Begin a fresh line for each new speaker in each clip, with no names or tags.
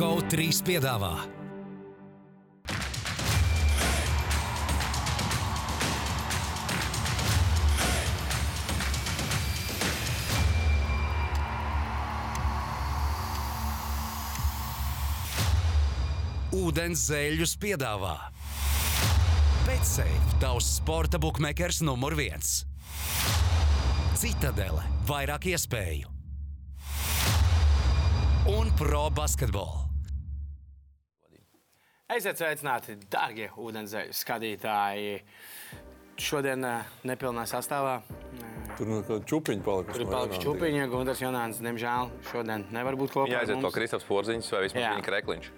GO3 piedāvā Ūdens zēļus piedāvā Betsafe, tavs sporta buklets numur viens. Citadele, vairāk iespēju un pro basketbolu.
Aiziet sveicināti, darbie ūdenzēļu skatītāji. Šodien eh, nepilnā sastāvā
Tur nu tāda čūpiņa palikusi.
tur ir palikuši čūpiņa. Gunārs Jonāns, diemžēl, šodien nevar būt kopā. ar
Jāiziet
mums.
to Kristofers Porziņš vai vismaz
Jā.
viņa krekliņš.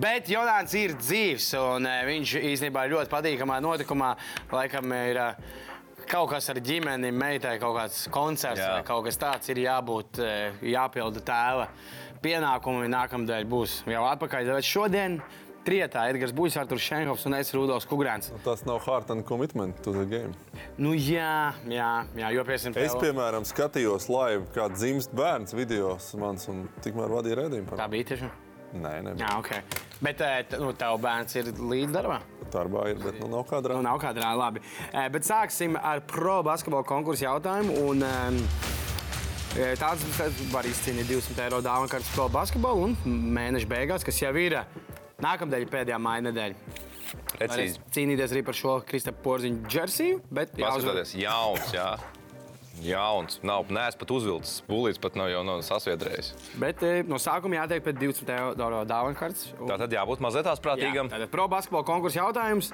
Bet Jonāns ir dzīves, un eh, viņš īstenībā ir ļoti patīkamā notikumā. Laikam ir eh, kaut kas ar ģimeni, meitai, kaut kāds koncerts
Jā.
vai kaut kas tāds ir jābūt, eh, jāpilda tēva pienākumi. Nākamdēļ būs jau atpakaļ. Bet šodien trietā Edgars Buļs, Arthurs Šenhovs un es Rudolfs Kugrāns.
Nu, Tas nav hard and commitment to the game.
Nu, jā, jā, jā jo piesim,
Es, piemēram, skatījos live, kā dzimst bērns video mans, un tikmēr vadīja redzējumu par
Tā bija tieši.
Nē, nē,
Jā, ok. Bet eh, t- nu, tev bērns ir līdz darbā.
darbā ir, bet nu nav kādra.
Nu, nav kādrā labi. Eh, Bet sāksim ar pro basketbalu konkursu jautājumu. Un, em, eh, Tāds kas var izcīnīt 200 eiro dāvanu kārtas pro basketbolu un mēneša beigās, kas jau ir eh, nākamdēļ, pēdējā māja nedēļa. Varēs
Precīzi.
cīnīties arī par šo Kristapā porziņu džersiju, bet jāuzvar.
Paskatieties, jauns, jā. Jauns. Nav, nē, es pat uzvilcis. Bulīts pat nav jau no sasviedrējis.
Bet eh, no sākuma jātiek pēc 20 eiro dāvanu kārtas.
Tā tad jābūt mazliet tās prātīgam.
Tātad pro basketbalu konkursu jautājums.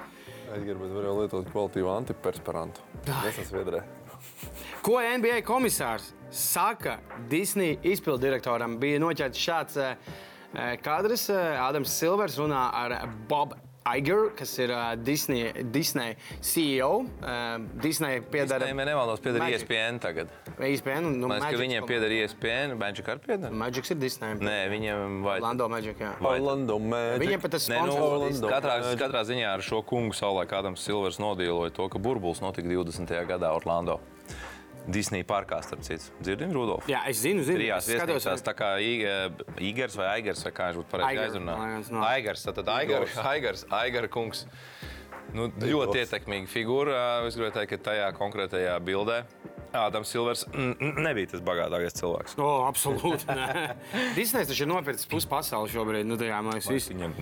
Edgars, bet var jau lietot kvalitīvu antiperspirantu. Tas ir viedrē.
Ko NBA komisārs saka Disneja izpilddirektoram? Bija noķerts šāds eh, eh, kadrs. eh, Ādams Silvers runā ar Bobu Aigeru, kas ir eh, Disney, Disney CEO. eh, Disney piedara
Nē, man nemaldos, pieder E
Magic.
ESPN tagad.
ESPN. un, Nu,
Man liekas,
Magic
ka viņiem
komanda.
pieder E ESPN, Benčik arī pieder.
Magics ir Disney.
Nē, viņiem vajag.
Lando Magic. Jā.
Vai-
Orlando
Viņiem
Magic.
pat tas
Nē, nu,
sponsors.
Orlando.
Disney.
katrā, katrā ziņā ar šo kungu savulaik Adams Silvers nodīloja to, ka burbulis notika 20. gadā Orlando. Disneja parkā, starp citu. Dzirdim, Rudolf?
Jā, es zinu, zinu.
Trijās
Es skatos,
viesnīcās, tā kā Igers vai Aigars, vai kā viņš būtu pareizi
Aigar,
aizrunā.
man liekas, nav.
Aigars, tātad Aigars, Aigars, Aigara kungs. Nu, ļoti ietekmīga figūra. Es gribēju teikt, ka tajā konkrētajā bildē Ādams Silvers mm, mm, nebija tas bagātākais cilvēks.
O, absolūti. nē. Disney taču ir nopircis pusi pasaules šobrīd. Nu, tajā, man liekas, viss.
Viņam,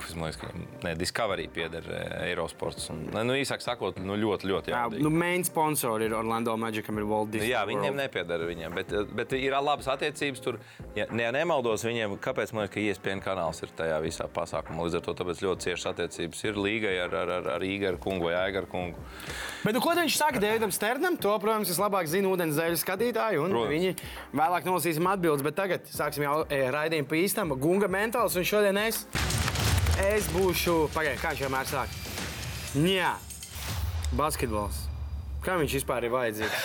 kas man liekas, ka viņam, ne, Discovery pieder eh, Eurosports. Un, ne, nu, īsāk sakot, nu, ļoti, ļoti
Jā,
jaudīgi.
nu, main sponsori ir Orlando Magic, kam ir Walt Disney.
Nu, Jā, viņiem
World.
nepiedara viņiem, bet, bet ir labas attiecības tur. Ja, ne, ja nemaldos, viņiem, kāpēc man liekas, ka E ESPN kanāls ir tajā visā pasākumā. Līdz ar to tāpēc ļoti ciešas attiecības ir līgai ar, ar, ar, ar Igaru kungu vai Aigaru kungu.
Bet, nu, ko tad viņš saka Deividam Sternam? To, protams, es labāk zinu ūdens zēļu skatītāju, un protams.
Protams.
viņi vēlāk nolasīsim atbildes. Bet tagad sāksim jau e, raidījumu pa īstam. Gunga mentāls, un šodien es, es būšu. Pagaidiet, kā viņš vienmēr sāk? Jā, basketbols. Kā viņš vispār ir vajadzīgs?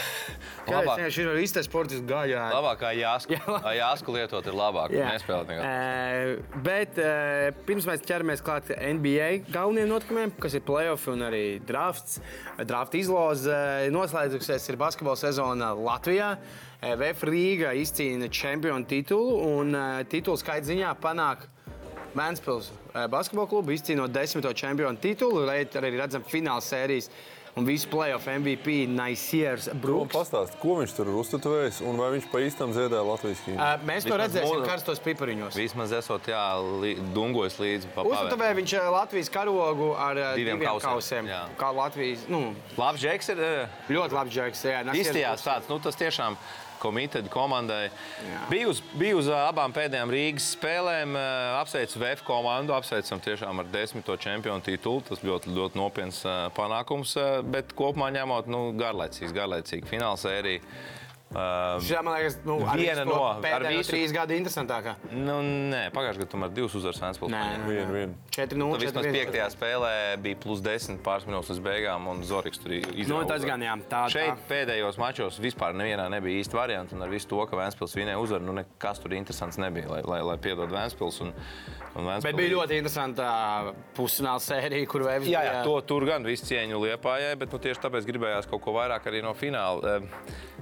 Labāk.
Kāpēc viņš ir īstais sports gājējs?
Labākā jāsku,
Jā, labi.
jāsku lietot ir labāk.
Jā.
Nespēlēt nekā.
Eh, Bet eh, pirms mēs ķeramies klāt NBA galvenajiem notikumiem, kas ir playoffs un arī drafts. Drafta izloze eh, noslēdzusies ir basketbola sezona Latvijā. Eh, VF Rīga izcīna čempionu titulu un eh, titulu skaits ziņā panāk. Mansfields basketbola klubu izcīnot desmito čempionu titulu. Reiz arī redzam fināla sērijas un visu playoff MVP Naisieris
Un
Brooks.
pastāst, ko viņš tur ir uztatavējis un vai viņš pa īstam ziedēja Latvijas kīnu.
Eh, Mēs to
Vismaz
redzēsim
mūsu-
karstos pipariņos.
Vismaz esot jā, li, dungojas līdzi pa
Uzmetavē viņš eh, Latvijas karogu ar eh, diviem,
Diviem
diviem
kausiem,
kausiem.
jā.
Kā Latvijas. Nu,
Labs žeks ir. eh,
ļoti labi džeks. Jā, Nasiers
Izstījās tāds, nu, tas tiešām komitēta komandai. Biju uz, biju uz ā, abām pēdējām Rīgas spēlēm, ā, apsveicu VF komandu, apsveicam tiešām ar desmito čempionu titulu. Tas ļoti, ļoti nopietns ā, panākums, ā, bet kopumā ņemot, nu, garlaicīgs, garlaicīgi fināls arī.
Brooks. Šī, man liekas, nu, ar
Viena
visu to
no, ar
pēdējo
visu.
trīs gadu interesantākā.
Nu, nē, pagājušajā gadā tomēr divas uzvaras Vēnspils.
Nē, nē,
Vienu, vienu.
četri no
Nu, Vismaz piektajā spēlē bija plus 10 pāris minūtes līdz beigām, un Zorgs tur izdevies.
Nu, tas gan jā, tā- tā.
Šeit pēdējos mačos vispār nevienā nebija īsta varianta, un ar visu to, ka Vēnspils vienai uzvar, nu nekas tur interesants nebija, lai, lai, lai piedod Vēnspils. Un, un Ventspils-
Bet bija ļoti interesanta pusfināla sērija, kur vēl
Jā, jā, to tur gan viss cieņu liepājai, bet nu, tieši tāpēc gribējās kaut ko vairāk arī no fināla. Em,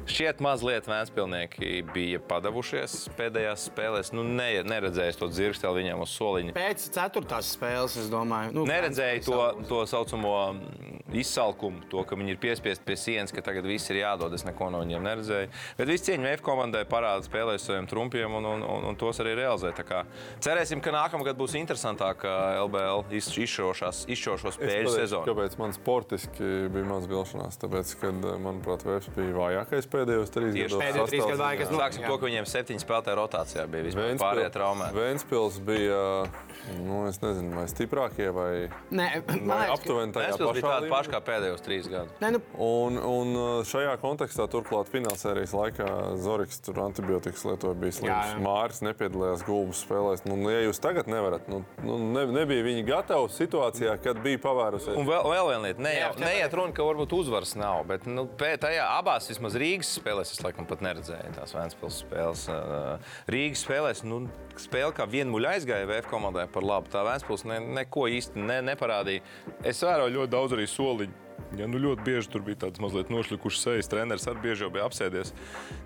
Šķiet, mazliet Vēnspilsnieki bija padavušies pēdējās spēlēs. Nu, ne, neredzēju to dzirksteli viņiem uz soliņa.
Pēc ceturtās spēles, es domāju, nu,
Neredzēju to, to saucamo mm, izsalkumu, to, ka viņi ir piespiesti pie sienas, ka tagad viss ir jādod. Es neko no viņiem neredzēju. Bet viss cieņa F komandai parāda spēlē saviem trumpiem un, un, un, un tos arī realizē. Tā kā Cerēsim, ka nākamgad būs interesantāka uh, LBL iz- izšķirošās- izšķirošo
Es
spēļu
pateikšu,
sezona.
Kāpēc man sportiski bija maz vilšanās? Tāpēc, ka, manuprāt, Vēfs bija vājākais pēdējos trīs
Tieši
gados.
pēdējos trīs gadu laikā, kas
sastāvā.
notika.
Sāksim to, ka viņiem septiņu spēlētāju rotācijā bija vispār
Ventspils-
pārējie traumēti.
Ventspils bija, nu, es nezinu, vai stiprākie vai,
Nē, man
vai
liekas, ka...
aptuveni tajā
Tas bija
pašā
tāds
līmenī.
pašs kā pēdējos trīs gadus.
Nē, nu,
Un, un uh, šajā kontekstā, turklāt finālsērijas laikā Zorgs tur antibiotikas lietoja, bija
Jā,
slims.
jā.
Māris nepiedalījās gulbas spēlēs. Nu, ja jūs tagad nevarat, nu, nu ne, nebija viņi gatavi situācijā, kad bija pavērusies.
Un vēl, vēl viena lieta, ne, jau,
Jā,
neiet runa, ka varbūt uzvaras nav, bet nu, pē- tajā abās, vismaz Rīgas spēlēs, es laikam pat neredzēju tās Vēnspils spēles. ā, Rīgas spēlēs, nu, spēle kā vienmuļa aizgāja VF komandai par labu. Tā Vēnspils ne, neko īsti ne, neparādīja. Es vēroju ļoti daudz arī soliņu. Ja, nu, ļoti bieži tur bija tāds mazliet nošlikušs sejas. Treneris arī bieži jau bija apsēdies.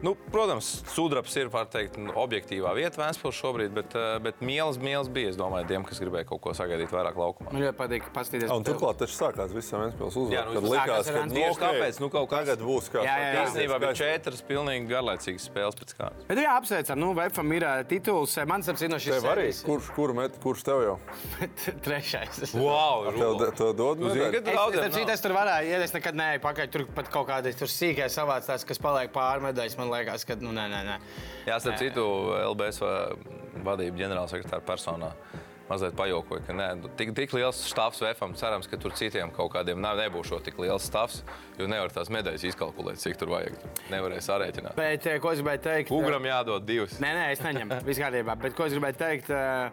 Nu, protams, sudrabs ir var teikt, nu, objektīvā vieta Vēnspils šobrīd, bet, ā, bet mielas, mielas bija. Es domāju, tiem, kas gribēja kaut ko sagaidīt vairāk laukumā.
man ļoti patīk paskatīties.
Un turklāt tas sākās visam Vēnspils
Jā,
uzvaru.
nu,
Kad
sākās
likās,
ar
ka
Vēnspils.
nu, okei,
Tāpēc, nu, kaut kas-
tagad būs kā
Jā, jā, jā.
Īstenībā bija četras pilnīgi garlaicīgas spēles pēc kārtas.
Bet jā, apsveicam, nu, Vēfam ir ā, tituls. eh, Man saprot, no šīs
Tev arī, kurš, kur met, kurš tev jau?
Trešais. Es,
Wow,
Tev, de- tev dod
Uz
medaļu?
Inga
es, starp citu,
daudziem.
es tur varēju iet, es nekad neeju pakaļ. Tur pat kaut kādas tur sīkās savāc tās, kas paliek pārmedājas. Man liekas, ka, nu, nē, nē, nē.
Jā, starp citu, LBS va- vadība ģenerālsekretāra personā. Mazliet pajokoju, ka nē, nu, tik, tik liels stāvs vefam. Cerams, ka tur citiem kaut kādiem nav, nebūs šo tik liels stāvs, jo nevar tās medaļas izkalkulēt, cik tur vajag. Nevarēs arēķināt.
Bet eh, ko es gribēju teikt?
Ugram jādod divas.
Nē, nē, es neņemu. Viss kārtībā. Bet ko es gribēju teikt eh,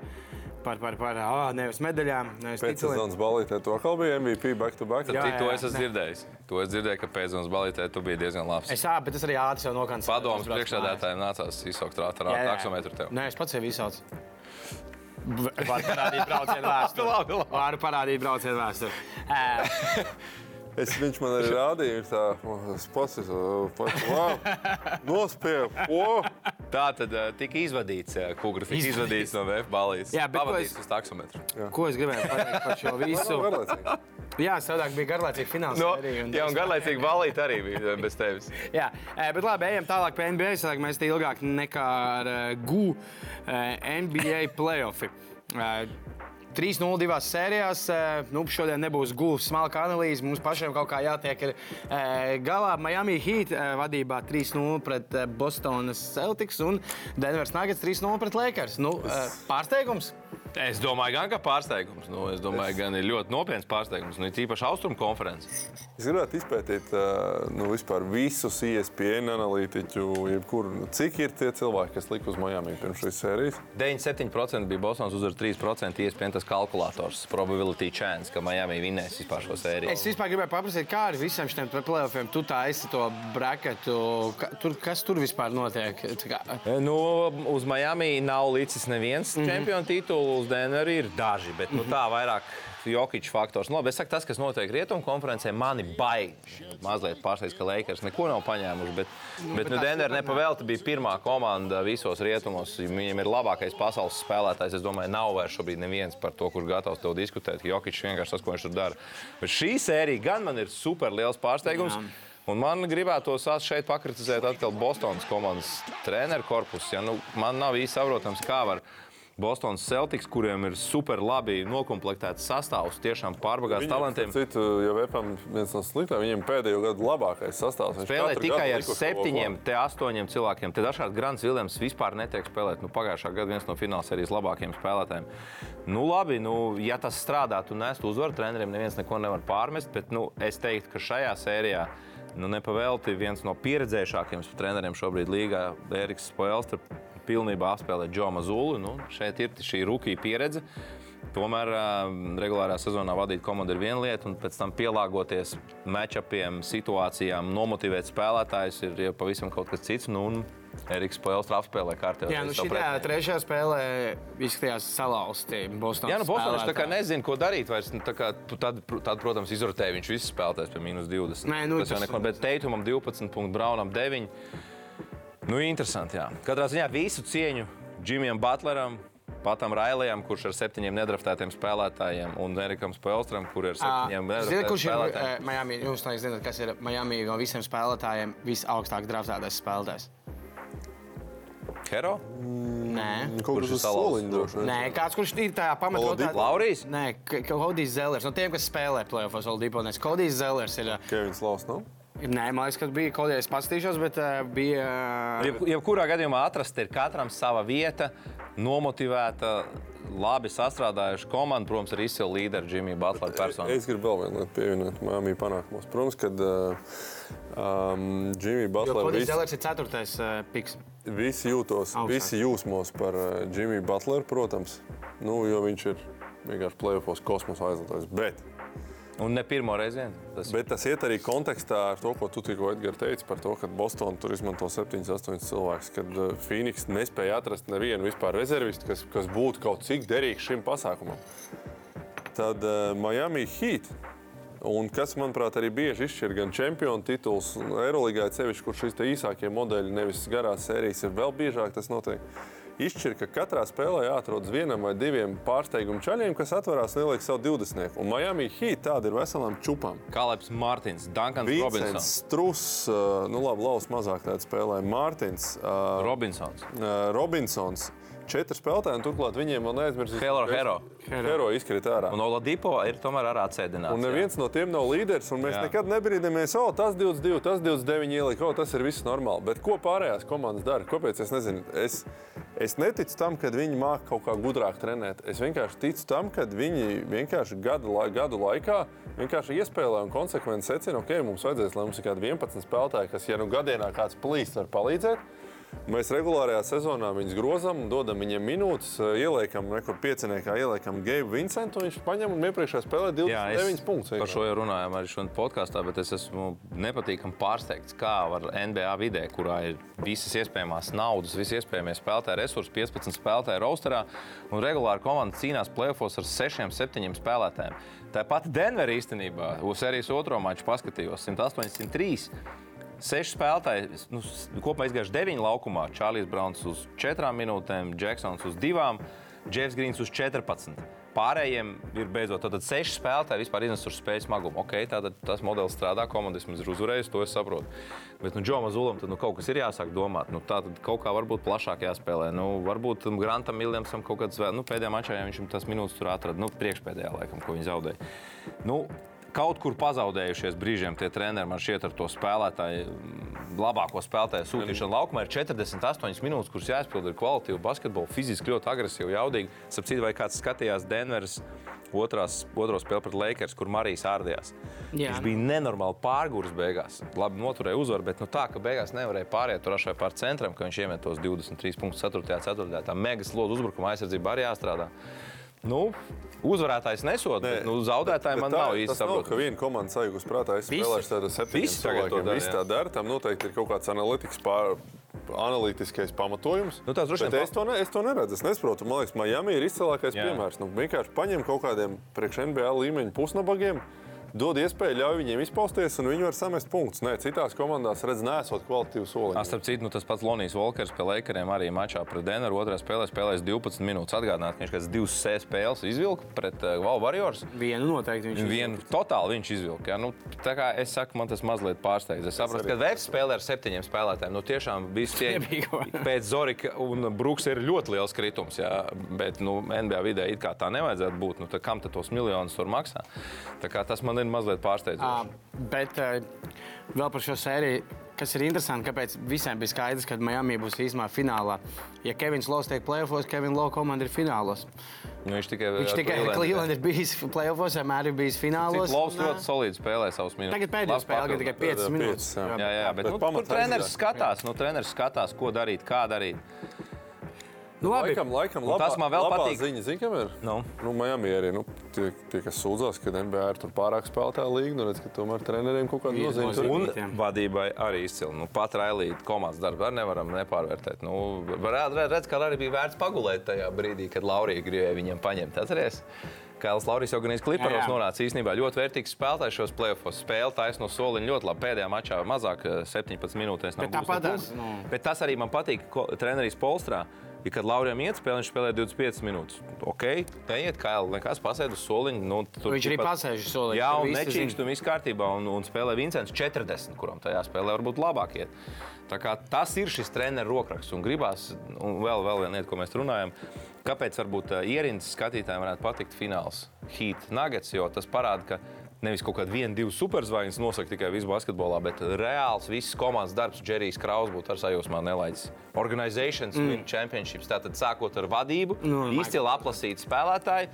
par, par, par oh, nevis medaļām, nevis
Pēc
tituliem?
sezonas balītē to atkal bija MVP back to back.
Starp
Jā,
citu, To
jā,
es esmu dzirdējis. To es dzirdēju, ka pēc zonas balītē tu biji diezgan labs.
Es saprotu, bet tas arī ātri jau nokāpās.
Padoms priekšsēdētājiem nācās izsaukt rāta
Jā, jā.
taksometru tev.
Nē, es pats sevi izsaucu. Varu parādīt braucienu vēsturi. Varu parādīt braucienu vēsturi. Eh, Ē,
Es, viņš man arī rādīja, viņš tā spēcīgs, pats nospiež.
Tā tad uh, tika izvadīts, uh, Kungs, tika izvadīts no VF balijas.
Jā, bet ko
pavadīts
es-
uz taksometru.
Ko es gribēju pateikt par šo visu? Jā, savādāk bija garlaicīgi fināls.
No,
arī,
Nu, jā, un garlaicīgi balīt arī bija eh, bez tevis.
Jā, e, bet labi, ejam tālāk pie NBA. Sāk, mēs te ilgāk nekā ar e, GU e, NBA playoffi. E, 3-0 divās sērijās. e, Nu, šodien nebūs gūta smalka analīze. Mums pašiem kaut kā jātiek ir, e, galā. Miami Heat e, vadībā 3-0 pret e, Bostonas Celtics un Denveras Nuggets 3-0 pret Lakers. Nu, e, pārsteigums!
Es domāju, gan kā pārsteigums. Nu, es domāju, gan ir ļoti nopietns pārsteigums. Nu, ir īpaši austrumu konferences.
Es gribētu izpētīt ā, nu, vispār visus E ISPN analītiķu, jebkuru, nu, cik ir tie cilvēki, kas lika uz Miami pirms šīs sērijas.
97% bija Bostonas uzvara, 3% iespējams tas kalkulators, probability chance, ka Miami vinnēs vispār šo sēriju.
Es vispār gribēju paprasīt, kā ar visiem šiem playoffiem tu tā aizsi to braketu. Ka, tur, kas tur vispār notiek? Tā kā-
Nu, uz Miami nav līdzis neviens mm -hmm. čempionu tituls, uz DNR ir daži, bet nu, tā vairāk jokiņš faktors. Nu, labi, es saku, tas, kas notiek rietumu konferencē, mani baidās. Mazliet pārsteigts, ka Lakers neko nav paņēmuši. Bet, nu, bet, bet nu, DNR nepavēlta bija pirmā komanda visos rietumos. Viņam ir labākais pasaules spēlētājs. Es domāju, nav vairs šobrīd neviens par to, kurš gatavs to diskutēt. Jokiņš vienkārši tas, ko viņš tur dara. Bet šī sērija gan man ir super liels pārsteigums. Jā. Un man gribētos as- šeit pakritizēt atkal Bostonas komandas treneru korpusu. Ja? Nu, man nav īsti saprotams, kā var Bostonas Celtics, kuriem ir super labi nokomplektēts sastāvs, tiešām pārbagāts talantiem.
starp Citu, jau Vēpam viens no sliktākajiem, viņiem pēdējo gadu labākais sastāvs. Viņš
Spēlē
katru
tikai
gadu
ar
lika uz
septiņiem, te astoņiem cilvēkiem. Te dažkārt Grants Viljams vispār netiek spēlēt. Nu, pagājušā gada viens no finālsērijas labākajiem spēlētājiem. Nu, labi, nu, ja tas strādātu un nestu uzvaru treneriem, neviens neko nevar pārmest. Bet nu, es teiktu, ka šajā sērijā. Nu, nepavēlti viens no pieredzējušākajiem treneriem šobrīd līgā, Eriks Spoelstra, pilnībā apspēlē Džona Zulu. Nu, šeit ir šī rūkīja pieredze. Tomēr ā, regulārā sezonā vadīt komandu ir viena lieta, un pēc tam pielāgoties matčupiem, situācijām, nomotivēt spēlētājus ir jau pavisam kaut kas cits. Nu, un Eriks spēles apspēlē kārtībā.
Jā, nu šī trešā spēlē izskatījās salauzti.
Jā, nu Bostonas tā kā nezina, ko darīt. Vairs, nu, tā kā, p- tad, pr- tad, protams, izrotēja viņš visus spēlētājus pie mīnus 20.
Nē, nu,
tas jau
tas-
neko, bet Teitumam 12, punktu, Braunam 9. Nu, interesanti, jā. Katrā ziņā visu cieņu Džimijam Butleram. Patam Railijam, kurš ar septiņiem nedraftētiem spēlētājiem, un Erikam Spēlstram, kur ir septiņiem
Ziniet,
nedraftētiem
kurš ir
spēlētājiem.
eh, Miami? Jūs tā zināt, kas ir Miami no visiem spēlētājiem visaugstāk draftētais spēlētājs?
Hero?
Nē.
Kaut
Kurš
kas
ir
uz
salauzts?
soliņa droši vien.
Nē, kāds kurš ir tajā pamatā?
Oladipo?
Laurijas?
Nē, Kodijs Zellers. No tiem, kas spēlē playoffs, Oladipo. Nes Kodijs Zellers ir. eh,
Kevins nu? Laus nav.
Nē, man liekas, ka bija kaut kāds pastīšos, bet eh, bija. eh,
Jeb- Jebkurā gadījumā atrast ir katram sava vieta, nomotivēta, labi sastrādājuša komanda, protams, ar izcilu līderu Džimiju Butleru personu.
Es gribu vēl vienu lietu pievienot māmiņu panākumos. Protams, kad uh, um,
Jo
Jimmy Butler
Kodijs
visi,
Zellers ir ceturtais eh, piks.
visi jūtos,
Augstāk.
visi jūsmos par uh, Jimmy Butler, protams, nu, jo viņš ir vienkārši plēvopos kosmosa aizlidojis. Bet,
Un ne pirmo reizi vien. Tas
bet tas iet arī kontekstā ar to, ko tu tikko Edgars teici par to, ka Bostonā tur izmanto 7, 8 cilvēkus, kad uh, Phoenix nespēja atrast nevienu vispār rezervistu, kas, kas būtu kaut cik derīgs šim pasākumam. Tad uh, Miami Heat Un kas, manuprāt, arī bieži izšķir gan čempionu tituls, un Eirolandā cevišķi, kur šīs te īsākie modeļi, nevis garās sērijas, ir vēl biežāk tas notiek. Izšķir, ka katrā spēlē jāatrodas vienam vai diviem pārsteigumu ceļiem, kas atverās un ieliek savu 20. Un Miami Heat tāda ir veselām čupām.
Kalēps Mārtiņš, Dankans
Vincents
Robinsons.
Struss, uh, nu labi, Laus mazāk tādā spēlē, Mārtiņš, uh,
Robinsons.
uh, Robinsons. Četri spēlētāji, un turklāt viņiem vēl neaizmirsīsim.
Taylor Hero.
Hero izkrīt ārā.
Un Oladipo ir tomēr arī atcēdināts.
Un neviens no tiem nav līderis, un mēs
Jā.
Jā. nekad nebrīdamies, o, tas 22, tas 29 ielika, o, tas ir viss normāli. Bet ko pārējās komandas dara? Kāpēc? Es nezinu. Es, es neticu tam, ka viņi māca kaut kā gudrāk trenēt. Es vienkārši ticu tam, ka viņi vienkārši gadu, lai, gadu laikā vienkārši iespēlē un konsekventi secina, ok, mums vajadzēs, lai mums ir kādi 11 spēlētāji, kas, ja nu gadienā kāds plīst, var palīdzēt. Mēs regulārajā sezonā viņus grozām, dodam viņiem minūtes, eh, ieliekam, nekur pieciniekā, ieliekam Gabe Vincentu, un viņš paņem un iepriekšējā spēlē 29
Jā, es
punktus.
par šo jau runājām arī šodien podkāstā, bet es esmu nepatīkami pārsteigts, kā var NBA vidē, kurā ir visas iespējamās naudas, visas iespējamie spēlētāji resursi, 15 spēlētāji rosterā, un regulāri komanda cīnās plēfos ar 6-7 spēlētājiem. Tāpat Denver īstenībā, uz sērijas otro maču paskatījos, 108-103. Seši spēlētāji, nu, s- kopā izgājuši deviņu laukumā. Čārlis Browns uz četrām minūtēm, Džeksons uz divām, Džefs Grīns uz 14. Pārējiem ir beidzot, tad seši spēlētāji vispār iznesuši spēļu smagumu. Okay, tātad tas modelis strādā, komandas ir uzvarējusi, to es saprotu. Bet, nu, Džona Zulam, tad nu, kaut kas ir jāsāk domāt. Nu, tā tad kaut kā varbūt plašāk jāspēlē. Nu, varbūt tam Grantam Viljamsam kaut kāds, vēl- nu, pēdējā mačā ja viņš viņam tas minūtes tur atrada, nu, priekšpēdējā laikam, ko viņi zaudēja. Nu, kaut kur pazaudējušies brīžiem tie treneri. Man šķiet, ar to spēlētāju, mm, labāko spēlētāju sūtīšanu laukumā ir 48 minūtes, kuras jāizpild ar kvalitāti basketbolu, fiziski ļoti agresīvi, jaudīgi. Sapratu, vai kāds skatījās Denveras otrās, otro spēli pret Lakers, kur Marijas ārdījās.
Jā.
Viņš bija nenormāli pārgājis beigās. Labi, noturēja uzvaru, bet nu, tā, ka beigās nevarēja pāriet tur ašai pār centram, ka viņš iemet tos 23 punktus 4. 4. Tā mega slodzi uzbrukuma aizsardzība arī jāstrādā. Nu, uzvarētājs nesot,
Nē,
bet nu, zaudētāji man nav īsti
tas nav,
saprotami.
ka viena komanda sajūgs prātā, es
Visi.
spēlēšu tādu septiņu
Visi tagad to
cilvēku.
dara,
Visi
jā.
tā dara, tam noteikti ir kaut kāds analītikas pār. Analītiskais pamatojums.
Nu, tās droši vien
Bet
pa-
es, to ne, es to neredzu. Es nesaprotu. Man liekas, Miami ir izcilākais
Jā.
jā. piemērs. Nu, vienkārši paņem kaut kādiem priekš-NBA līmeņa pusnabagiem, dod iespēju, ļauj viņiem izpausties, un viņi var samest punktus. Nē, citās komandās redz, nesot kvalitīvu soli.
Starp citu, nu, tas pats Lonijs Volkers pie Lakeriem arī mačā pret Denveru. Otrajā spēlē spēlēs 12 minūtes. Atgādināt, ka viņš kāds divas C spēles izvilka pret uh, Wow Warriors.
Vienu noteikti viņš
Vienu totāli viņš izvilka. Ja? Nu, tā kā es saku, man tas mazliet pārsteidz. Es saprotu, ka Vēja spēlē ar septiņiem spēlētājiem. Nu, tiešām visi tie
Iemīgo.
pēc Zorika un Brooks ir ļoti liels kritums. Jā. Bet nu, NBA vidē it kā tā nevajadzētu būt. Nu, tā kam tad tos miljonus tur maksā? Tā kā tas man ir mazliet
Ā,
pārsteidzoši.
Ah, Bet ā, vēl par šo sēriju, kas ir interesanti, kāpēc visiem bija skaidrs, ka Miami būs īsumā finālā. Ja Kevins Lovs tiek plēsofos, Kevins Lovs komanda ir finālos.
Nu, viņš tikai
Viņš tikai Cleveland ir bijis plēsofos, vienmēr ir bijis finālos.
Klaus
un, ā,
ļoti solidi spēlē savus minūtes.
Tagad pēdējā
Labs
spēlē
papildinājums.
tikai 5
Pēdējā
minūtes.
piecas, jā.
Jā, jā, bet,
Bet
bet nu,
pamats
tur treneris
aizgāja.
skatās, nu, treneris skatās, ko darīt, kā darīt.
Nu, labi,
Laikam, laikam,
Un
labā,
tas man vēl
labā
patīk.
Ziņa, zin, kam ir?
Nu?
Nu, Miami arī nu, tie, tie, kas sūdzās, ka NBA ir tur pārāk spēlētāja līnija, nu redz, ka tomēr treneriem kaut kāda
Ir
nozīme tur
nozīme.
ir.
Un
Rītiem.
vadībai arī izcili. Nu, pat raidīt komandas darbu arī nevaram nepārvērtēt. Nu, Redz, ka arī bija vērts pagulēt tajā brīdī, kad Laurija gribēja viņam paņemt. Atceries? Kails Lauris jau gan
Jā,
izklipros
jā.
nonāca īstenībā ļoti vērtīgs spēlētājs šos plēsofos. Spēle taisno soliņa ļoti labi. Pēdējā mačā mazāk eh, 17 minūtēs nav
Bet
gūst ne
tāpatās,
punktu.
nu.
Bet tas arī man patīk, ko treneris Polstrā. Ja, kad Laurijam iet spēlē, viņš spēlē 25 minūtes. Ok, neiet kā jau nekas, pasēdu soliņu. Nu, tur
viņš arī
tikpat-
pasēž solī.
Jā, un nečīkst, un viss kārtībā. Un, un spēlē Vincents 40, kuram tajā spēlē varbūt labāk iet. Tā kā tas ir šis treneris rokraksts. Un gribās, un vēl, vēl viena lieta, ko mēs runājam, kāpēc varbūt ā, ierindas skatītājiem varētu patikt fināls Heat Nuggets, jo tas parāda, ka Nevis kaut kāda viena, divas superzvaigznes nosaka tikai visu basketbolā, bet reāls visas komandas darbs, Džerijs Kraus būtu ar sajūsmā nelaicis. Organizācijas mm. championships, tātad sākot ar vadību,
Nu,
nu,
Mike
izcili aplasīti spēlētāji.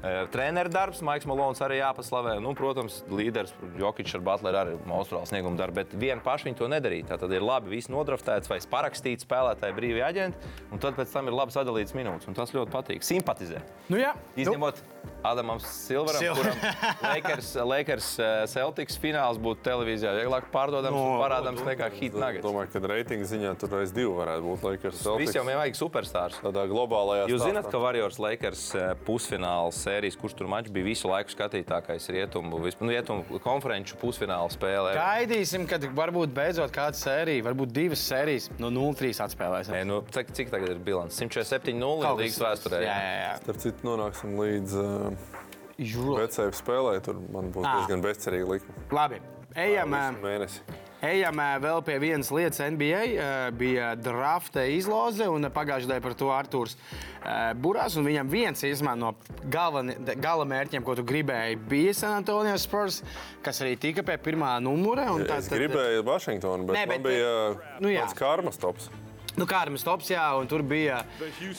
eh, Treneru darbs, Maiks Malons arī jāpaslavē. Nu, protams, līderis Jokic ar Butleru arī monstruāls snieguma darbs, bet vien paši viņi to nedarīja. Tātad ir labi, viss nodraftēts vai parakstīts spēlētāji brīvi aģenti, un tad pēc tam ir labi sadalīts minūtes, un tas ļoti patīk. Simpatizē.
Nu, jā, nu,
Izņemot Adamu Silveram,
Sil-
kuram Lakers, Lakers eh, Celtics fināls būtu televīzijā vieglāk pārdodams
No,
un parādāms nekā Hit Nuggets.
Nu, Domāju, ka reitinga ziņā tur reiz divi varētu būt Lakers. Celtics.
Visiem jau vajag superstārs.
tādā globālajā
Jūs zināt,
stāstā.
ka Warriors Lakers eh, pusfināla sērijas, kurš tur mačs bija visu laiku skatītākais rietumu, vispār nu, rietumu konferenču pusfināla spēlē.
gaidīsim, kad varbūt beidzot kāda sērija, varbūt divas sērijas no 0-3 atspēlēsim.
Nē, nu, cik, cik tagad ir bilants? 147-0
Kaut
ir līgas
kas-
vēsturē.
Jā, jā,
Starp citu, nonāksim līdz uh,
jā. Žro.
vecajai spēlē. Tur man būs
Ah.
Ā.
diezgan bezcerīga likme.
Labi, ejam. eh, ēm.
Visu mēnesi.
Ejam ē, vēl pie vienas lietas. NBA ē, bija drafta izloze, un pagājušajā dienā par to Arthurs ē, Burās. un Viņam viens īsumā, no galveni- de- gala mērķiem, ko tu gribēji, bija San Antonijas Spurs, kas arī tika pie pirmā numura.
Nu,
un
Es
tad- tad-
gribēju Vašingtonu, bet,
Nē,
Nē,
bet-
bet man bija
Nu
nu,
jā.
tāds karmas tops.
Nu, kā ar mums tops, jā, un tur bija.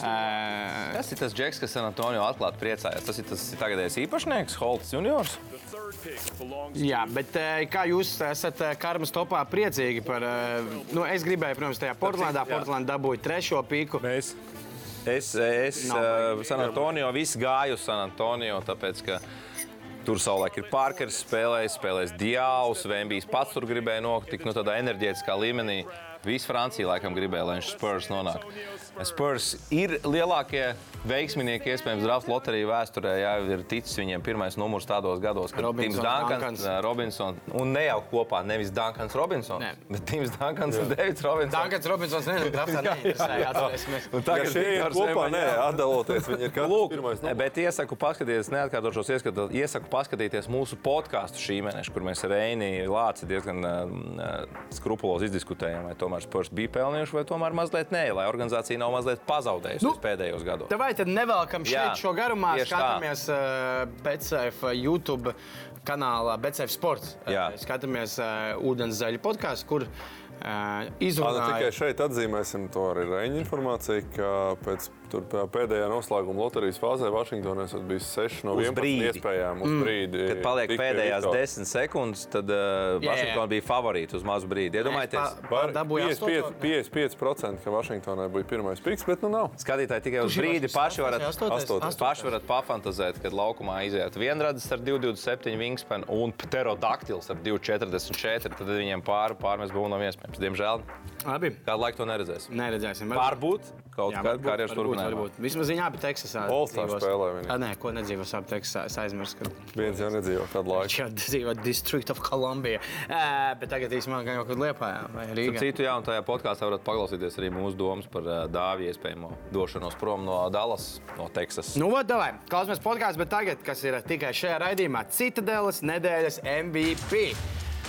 ē,
Tas ir tas džeks, kas San Antonio atklāti priecājās. Tas ir tas tagadējais īpašnieks, Holts Juniors.
Jā, bet ē, kā jūs esat ē, karmas topā priecīgi par. ē, Nu, es gribēju, protams, tajā Portlandā. Portlandā dabūju trešo pīku.
Mēs
Es, es
Nav
uh, San Antonio, viss gāju uz San Antonio, tāpēc, ka tur savulaik ir Parkers spēlējis, spēlējis Dievs, Vēmbijas pats tur gribēja notikt, nu tādā enerģētiskā līmenī. Visa Francija laikam gribēja, lai viņš Spurs nonāk. Spurs ir lielākie veiksminieki, iespējams, drafta loteriju vēsturē. Jā, ir ticis viņiem pirmais numurs tādos gados, kad
Robinsons,
Tims Dankans,
Dankans.
Dankans. Robinsons, un ne jau kopā, nevis Dankans Robinsons,
Nē.
bet Tims Dankans un Deivids Robinsons.
Dankans Robinsons nezināja, kas tas ir.
Un
Ja šie ir
Viktors
kopā,
Emanuels-
nē, atdaloties. Viņi ir kā
Lūk, E,
pirmais. numurs.
bet iesaku paskatīties, neatkārtošos ieskatu, iesaku paskatīties mūsu podkāstu šī mēneša, kur mēs ar Reini Lāci diezgan uh, skrupulozi izdiskutējām, vai tomēr Spurs bija pelnījuši, vai tomēr mazliet nē, lai organizācija nav mazliet pazaudējusi nu, pēdējos gados.
Vai tad nevelkam šeit
Jā,
Jā, šo garumā,
tieši tā.
skatāmies uh, BCF YouTube kanālā BCF Sports.
Jā.
Uh, Skatāmies uh, ūdens zaļu podkāstu, kur uh,
Ana, nu, tikai
izrunājam.
šeit atzīmēsim to arī Reņģa informāciju, ka pēc tur pē- pēdējā noslēguma loterijas fāzē Vašingtonā esat bijis 6 no
Uz
11
brīdi. Mm.
iespējām. Uz brīdi.
Kad paliek
Tik pie
pēdējās
Viktora.
desmit sekundes, tad uh,
jā.
Vašingtona bija favorīta uz mazu brīdi. Iedomājieties,
Par
Dabūjām
55% 55%, ka Vašingtonā bija pirmais piks, bet nu nav.
Skatītāji tikai uz
Kurš ir
brīdi
astotais?
paši varat,
Astotais?
astotais.
Astotais.
paši varat pafantāzēt, kad laukumā iziet vienradas ar 227 wingspan un pterodaktils ar 244. Tad viņiem pāri pārmēs būtu nav iespējams. Diemžēl
Labi,
kādu laiku to neredzēsim.
neredzēsim.
Varbūt kaut kādā karjeras turpinājumā.
varbūt. Vismaz viņa abi Teksasā.
All-Star
dzīvos.
spēlē viņi.
Ah, Nē, ko nedzīvos abi Teksasā. Es aizmirsu, ka
Viens jau nedzīvo tādu laiku.
šeit dzīvo District of Columbia. Uh, bet tagad īstenībā gan jau kaut kur liepājā vai
Starp
Rīgā.
Citu, jā, un tajā podkāstā varat paklausīties arī mūsu domas par uh, dāvju iespējamo došanos prom no Dallas, no Teksas.
Nu, vat, davai, klausāmies podkāstu, bet tagad, kas ir tikai šajā raidījumā, Citadelas nedēļas MVP.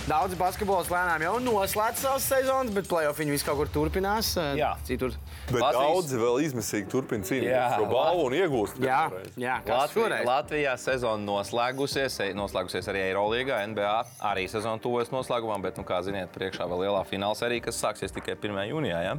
Daudz basketbols lēnām jau noslēdz savas sezonas, bet playoffs viņa visu kaut kur turpinās. eh,
Jā.
Citur.
Bet
Latvijas-
daudzi vēl izmisīgi turpina cīnīties
Jā,
par šo balvu un iegūst.
Jā,
vienreiz.
jā kas
Latvijā,
šoreiz?
Latvijā sezona noslēgusies, e- noslēgusies arī Eirolandā, NBA. Arī sezona tuvojas noslēgumam, bet, nu, kā ziniet, priekšā vēl lielā fināls arī, kas sāksies tikai 1. jūnijā. Ja?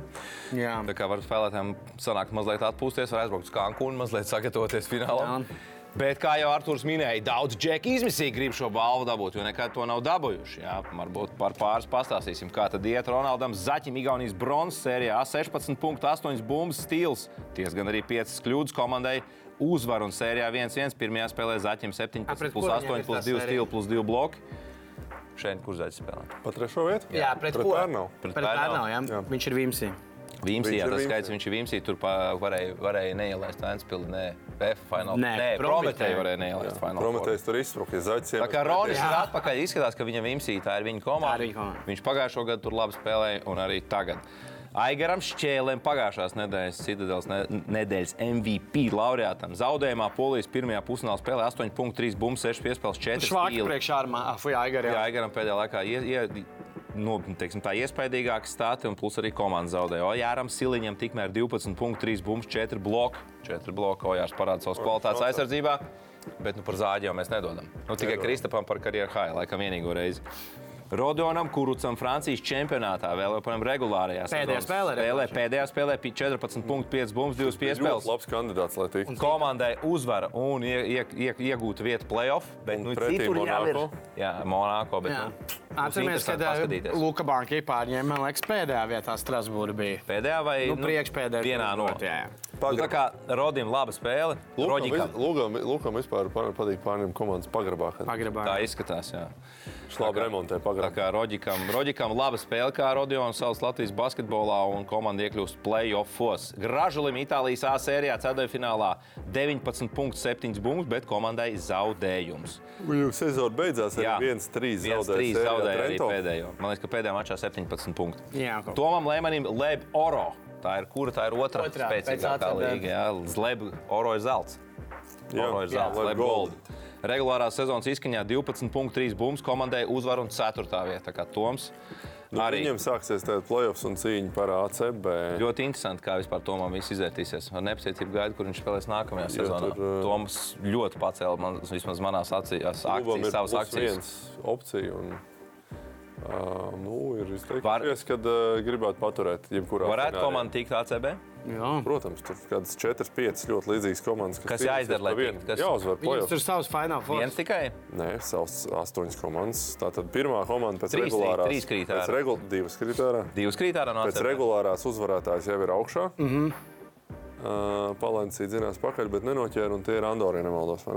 Jā.
Tā kā var spēlētājiem sanākt mazliet atpūsties, var aizbraukt uz Cancūnu, mazliet sagatavoties finālam.
Jā.
Bet, kā jau Arthurs minēja, daudz džeku izmisīgi grib šo balvu dabūt, jo nekad to nav dabūjuši. Jā, varbūt par pāris pastāstīsim, kā tad iet Ronaldam Zaķim, Igaunijas bronzas sērijā. 16,8 bumbas stils, diezgan arī 5 kļūdas komandai. Uzvaru un sērijā 1-1. Pirmajā spēlē Zaķim 7,
A, pret
8, plus
ko
8,
viņiem ir tā
plus 2
sērija?
stila, plus 2 bloki. Šeit, kur Zaķis spēlē?
Pa trešo vietu?
Jā, pret
pret
ko?
Pērnau.
Pret
Pret
Pērnavu.
Pērnau, jā.
Jā.
Viņš ir Vimsi.
Viņš
Vimsī, jā,
ir
tas
Vimsī.
skaits, viņš ir Vimsī, tur pa- varēja, varēja neielaist Vēnspili, nē, VF finālā.
Nē, Prometēju.
Prometēja varēja neielaist finālā.
Prometējs tur izsprūka.
Tā kā Ronis
Jā.
ir atpakaļ, izskatās, ka viņam Vimsī tā ir viņa komanda.
Tā ir viņa komanda.
Viņš pagājušo gadu tur labi spēlēja un arī tagad. Aigaram Šķēlēm pagājušās nedēļas Citadelas ne- nedēļas MVP laureātam zaudējumā Polijas pirmajā pusfināla spēlē 8,3 bumbas, 6 piespēles, 4
Švāki
stīli.
priekšā ar Fuja Aigaru.
Jā, Aigaram pēdējā laikā ie, ie, nu, teiksim, tā iespaidīgāka stāte, un plus arī komanda zaudēja. Ojāram Siliņam tikmēr 12,3 bumbas, 4 bloki. 4 bloki Ojārs parāda savas kvalitātes
šaucās.
aizsardzībā. Bet nu, par zāģi jau mēs nedodam. Nu, tikai
Nedodam.
Kristapam par karjeru high, laikam vienīgo reizi. Rodonam Kurucam Francijas čempionātā vēl joprojām regulārajā
Pēdējā
sezonas
spēlē
spēlē.
regulārajā.
Pēdējā spēlē bija 14,5 bumbas, 2 piespēles.
Ļoti labs kandidāts, lai tiktu.
Komandai uzvara un ie, ie, ie, iegūta vieta playoff. Bet,
Un
nu,
pretī
citur jau ir.
Monako.
Jā, Monako. Bet, nu,
Atcerieties,
būs
kad
interesanti
ā,
paskatīties.
Luka Banka pārņēma, man liekas, pēdējā vietā Strasbūrā bija.
Pēdējā vai
Nu, priekšpēdējā.
Vienā no
turbūt, jā, jā.
Nu, Tā kā Rodim laba spēle, Roģikam.
Lūkam, vispār par- patīk pārņemt komandas pagrabā. kad
Pagrabā.
Tā izskatās. Jā.
Viņš labi remontē
Tā
pagrabā.
kā Roģikam, Roģikam laba spēle, kā Rodionas savas Latvijas basketbolā un komanda iekļūst playoffs. Gražulim Itālijas A sērijā ceturtfinālā 19,7 bumbas, bet komandai zaudējums.
Viņu sezona beidzās ar 1-3
Trīs
zaudējumu.
zaudēja arī pēdējo. Man liekas, ka pēdējā mačā 17 punkti.
Jā, kaut kā.
Tomam Lēmanim Leb Oro. Tā ir kura, tā ir otrā
Otrā, pēc
spēcīgākā
ACB.
līnija. Jā, Leb Oro ir zelts.
Jā,
Oro ir zelts,
jā,
Leb Gold. Regulārā sezonas izskaņā 12,3 bumbas komandai uzvar un 4. vietā. Tā kā Toms
Nu,
arī
Viņam sāksies tāds playoffs un cīņa par ACB.
ļoti interesanti, kā vispār Tomam viss izvērtīsies. Ar nepacietību gaidu, kur viņš spēlēs nākamajā
Jo
sezonā.
tur, eh,
Toms ļoti pacēla man, vismaz manās acīs,
Klubam
akcijas,
ir
savas
plus
akcijas.
viens opcija. Un, uh, nu, ir
Var-
izteikties, kad uh, gribētu paturēt jebkurā
Varētu
scenārijā.
komanda tikt ACB?
Jā.
Protams, tur ir kādas 4, 5 ļoti līdzīgas komandas,
Kas
cīnīsies
jāizdara, lai
par vienu.
tiktu? Kas-
Jāuzvar
Viņam
playoffs.
tur savs fināls
Viens
forms.
tikai.
Nē, savs astoņas komandas. Tātad pirmā komanda pēc
Trīs,
regulārās.
trīs, trīs krīt
pēc
ārā.
regu, divas krīt ārā.
Divas krīt ārā no
Pēc
ACB.
regulārās uzvarētājas jau ir augšā. Mm -hmm. Uh, Palancija dzinās pakaļ, bet nenoķēra, un tie ir Andorija, ja nemaldos. vai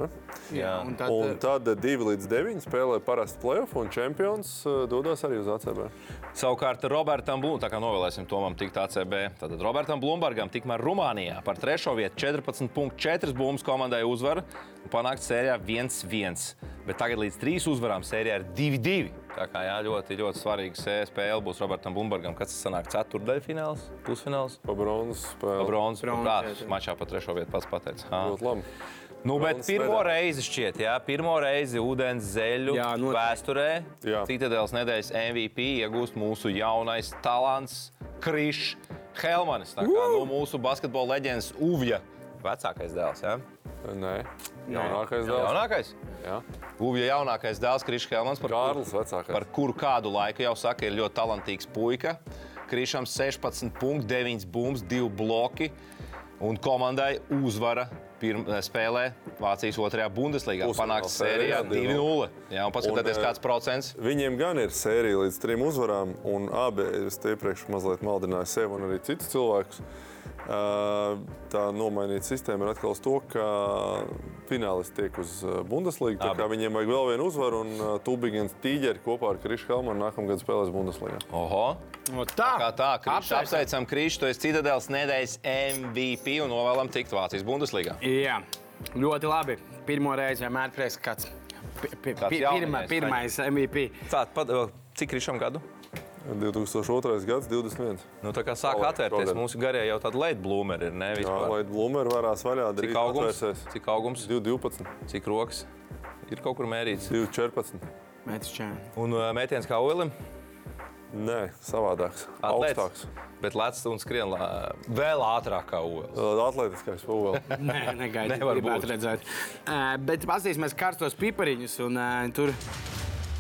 Ne?
Jā, un tad, eh,
Un tad 2 līdz 9 spēlē parasti playoff, un čempions uh, dodas arī uz ACB.
Savukārt Robertam Blūmam, tā kā novēlēsim Tomam tikt ACB, tad Robertam Blūmbergam tikmēr Rumānijā par trešo vietu 14,4 bumbas komandai uzvaru un panākt sērijā 1-1. Bet tagad līdz trīs uzvarām sērijā ir 2-2. Tā kā jā, ļoti, ļoti svarīga sē- spēle būs Robertam Blūmbergam, kas tas sanāk ceturtdaļfināls, pusfināls.
Pa bronzas spēlē.
Bronzas
Bronzas, jā,
prātā
jā.
mačā par trešo vietu pats pateica. Ha.
Ļoti labi.
Nu, bet
Bronzas
pirmo
medaļa.
reizi šķiet, jā, pirmo reizi ūdens zeļu jā,
Jā, noteikti.
vēsturē
Jā.
Citadēlas nedēļas MVP iegūst mūsu jaunais talants Krišs Helmanis. Tā kā nu, mūsu basketbola leģendas Uvja vecākais dēls. Jā.
Nē, jaunākais dēls.
Jaunākais?
Jā.
Uvja jaunākais dēls Krišs Helmanis. par kuru-
Kārlis vecākais.
par kuru kādu laiku jau saka, ir ļoti talantīgs puika. Krišam 16,9 bumbas, 2 bloki. Un komandai uzvara pirm, eh, spēlē Vācijas 2. Bundeslīgā.
Pusfināla
Panāks
sērijā
sērijā 2-0. Jā, un paskatieties,
Un, eh,
kāds procents.
Viņiem gan ir sērija līdz trim uzvarām, un abi es te iepriekš mazliet maldināju sevi un arī citus cilvēkus. Uh, Tā nomainīta sistēma ir atkal uz to, ka finālists tiek uz uh, Bundeslīgu. Tā
Abi.
kā viņiem vajag vēl vienu uzvaru, un uh, Tūbiņš Tīģeri kopā ar Krišu Helmanu nākamgad spēlēs Bundeslīgā.
Oho!
un tā,
Kā tā, Krišs,
Apsveicam.
apsveicam Krišu, tu esi Citadēlas nedēļas MVP un novēlam tikt Vācijas Bundeslīgā.
Jā, ļoti labi. Pirmo reizi vienmēr prieks, ka kāds pi- pi-
Kāds
pi- pirma-
jauniņais,
pirmais MVP.
Tā, pat, eh, cik Krišam gadu?
2002. gads, 21.
Nu, tā kā sāk
Šogad,
atvērties
šogad.
mūsu garie jau tāda late bloomer ir,
Jā,
ne? Vispār.
lai Blūmēra varās vaļā, drīz
Cik augums?
atvērsies.
Cik augums?
212,
Cik rokas? Ir kaut kur mērīts.
214.
Metrs čēni.
Un uh, mētējums kā olim,
Nē, savādāks.
Atlēts.
Augstāks.
bet lēts un skrien lā- vēl ātrāk kā olis.
Uh, Atletiskāks pūlis.
Nē, negaidīt,
Nevar
gribētu Eh,
būt.
redzēt. Uh, bet paskatīsimies karstos pipariņus un uh, eh, tur.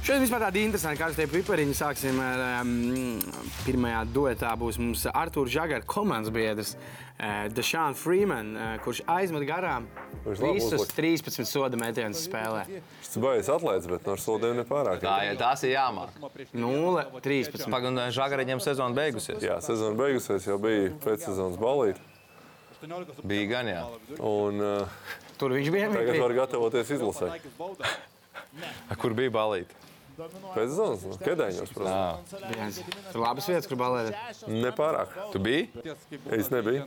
šeit Šodien vispār tādi interesanti karstie pipariņi. Sāksim ar um, pirmajā duetā būs mums Artūrs Žagars, komandas biedrs, uh, Dešāns Freeman, uh, kurš aizmet garām
Kurš labi
visus
uzlika.
13 soda metienus spēlē.
Es baidos atlaidz, bet no sodiem ne pārāk.
Tā, jā, tās ir jāmāk.
0, 13.
Pagaidām, žagariņiem sezona beigusies.
Jā, sezona beigusies, jau bija pēcsezonas balīti.
Bija gan jā.
Un uh,
Tur viņš bija
tagad
MVP.
var gatavoties izlasē.
Kur bija balīti?
Pēcsezonas nu, kedēņos, protams.
viens. Tur labas vietas, kur balēt.
Ne pārāk.
Tu biji?
Es nebiju.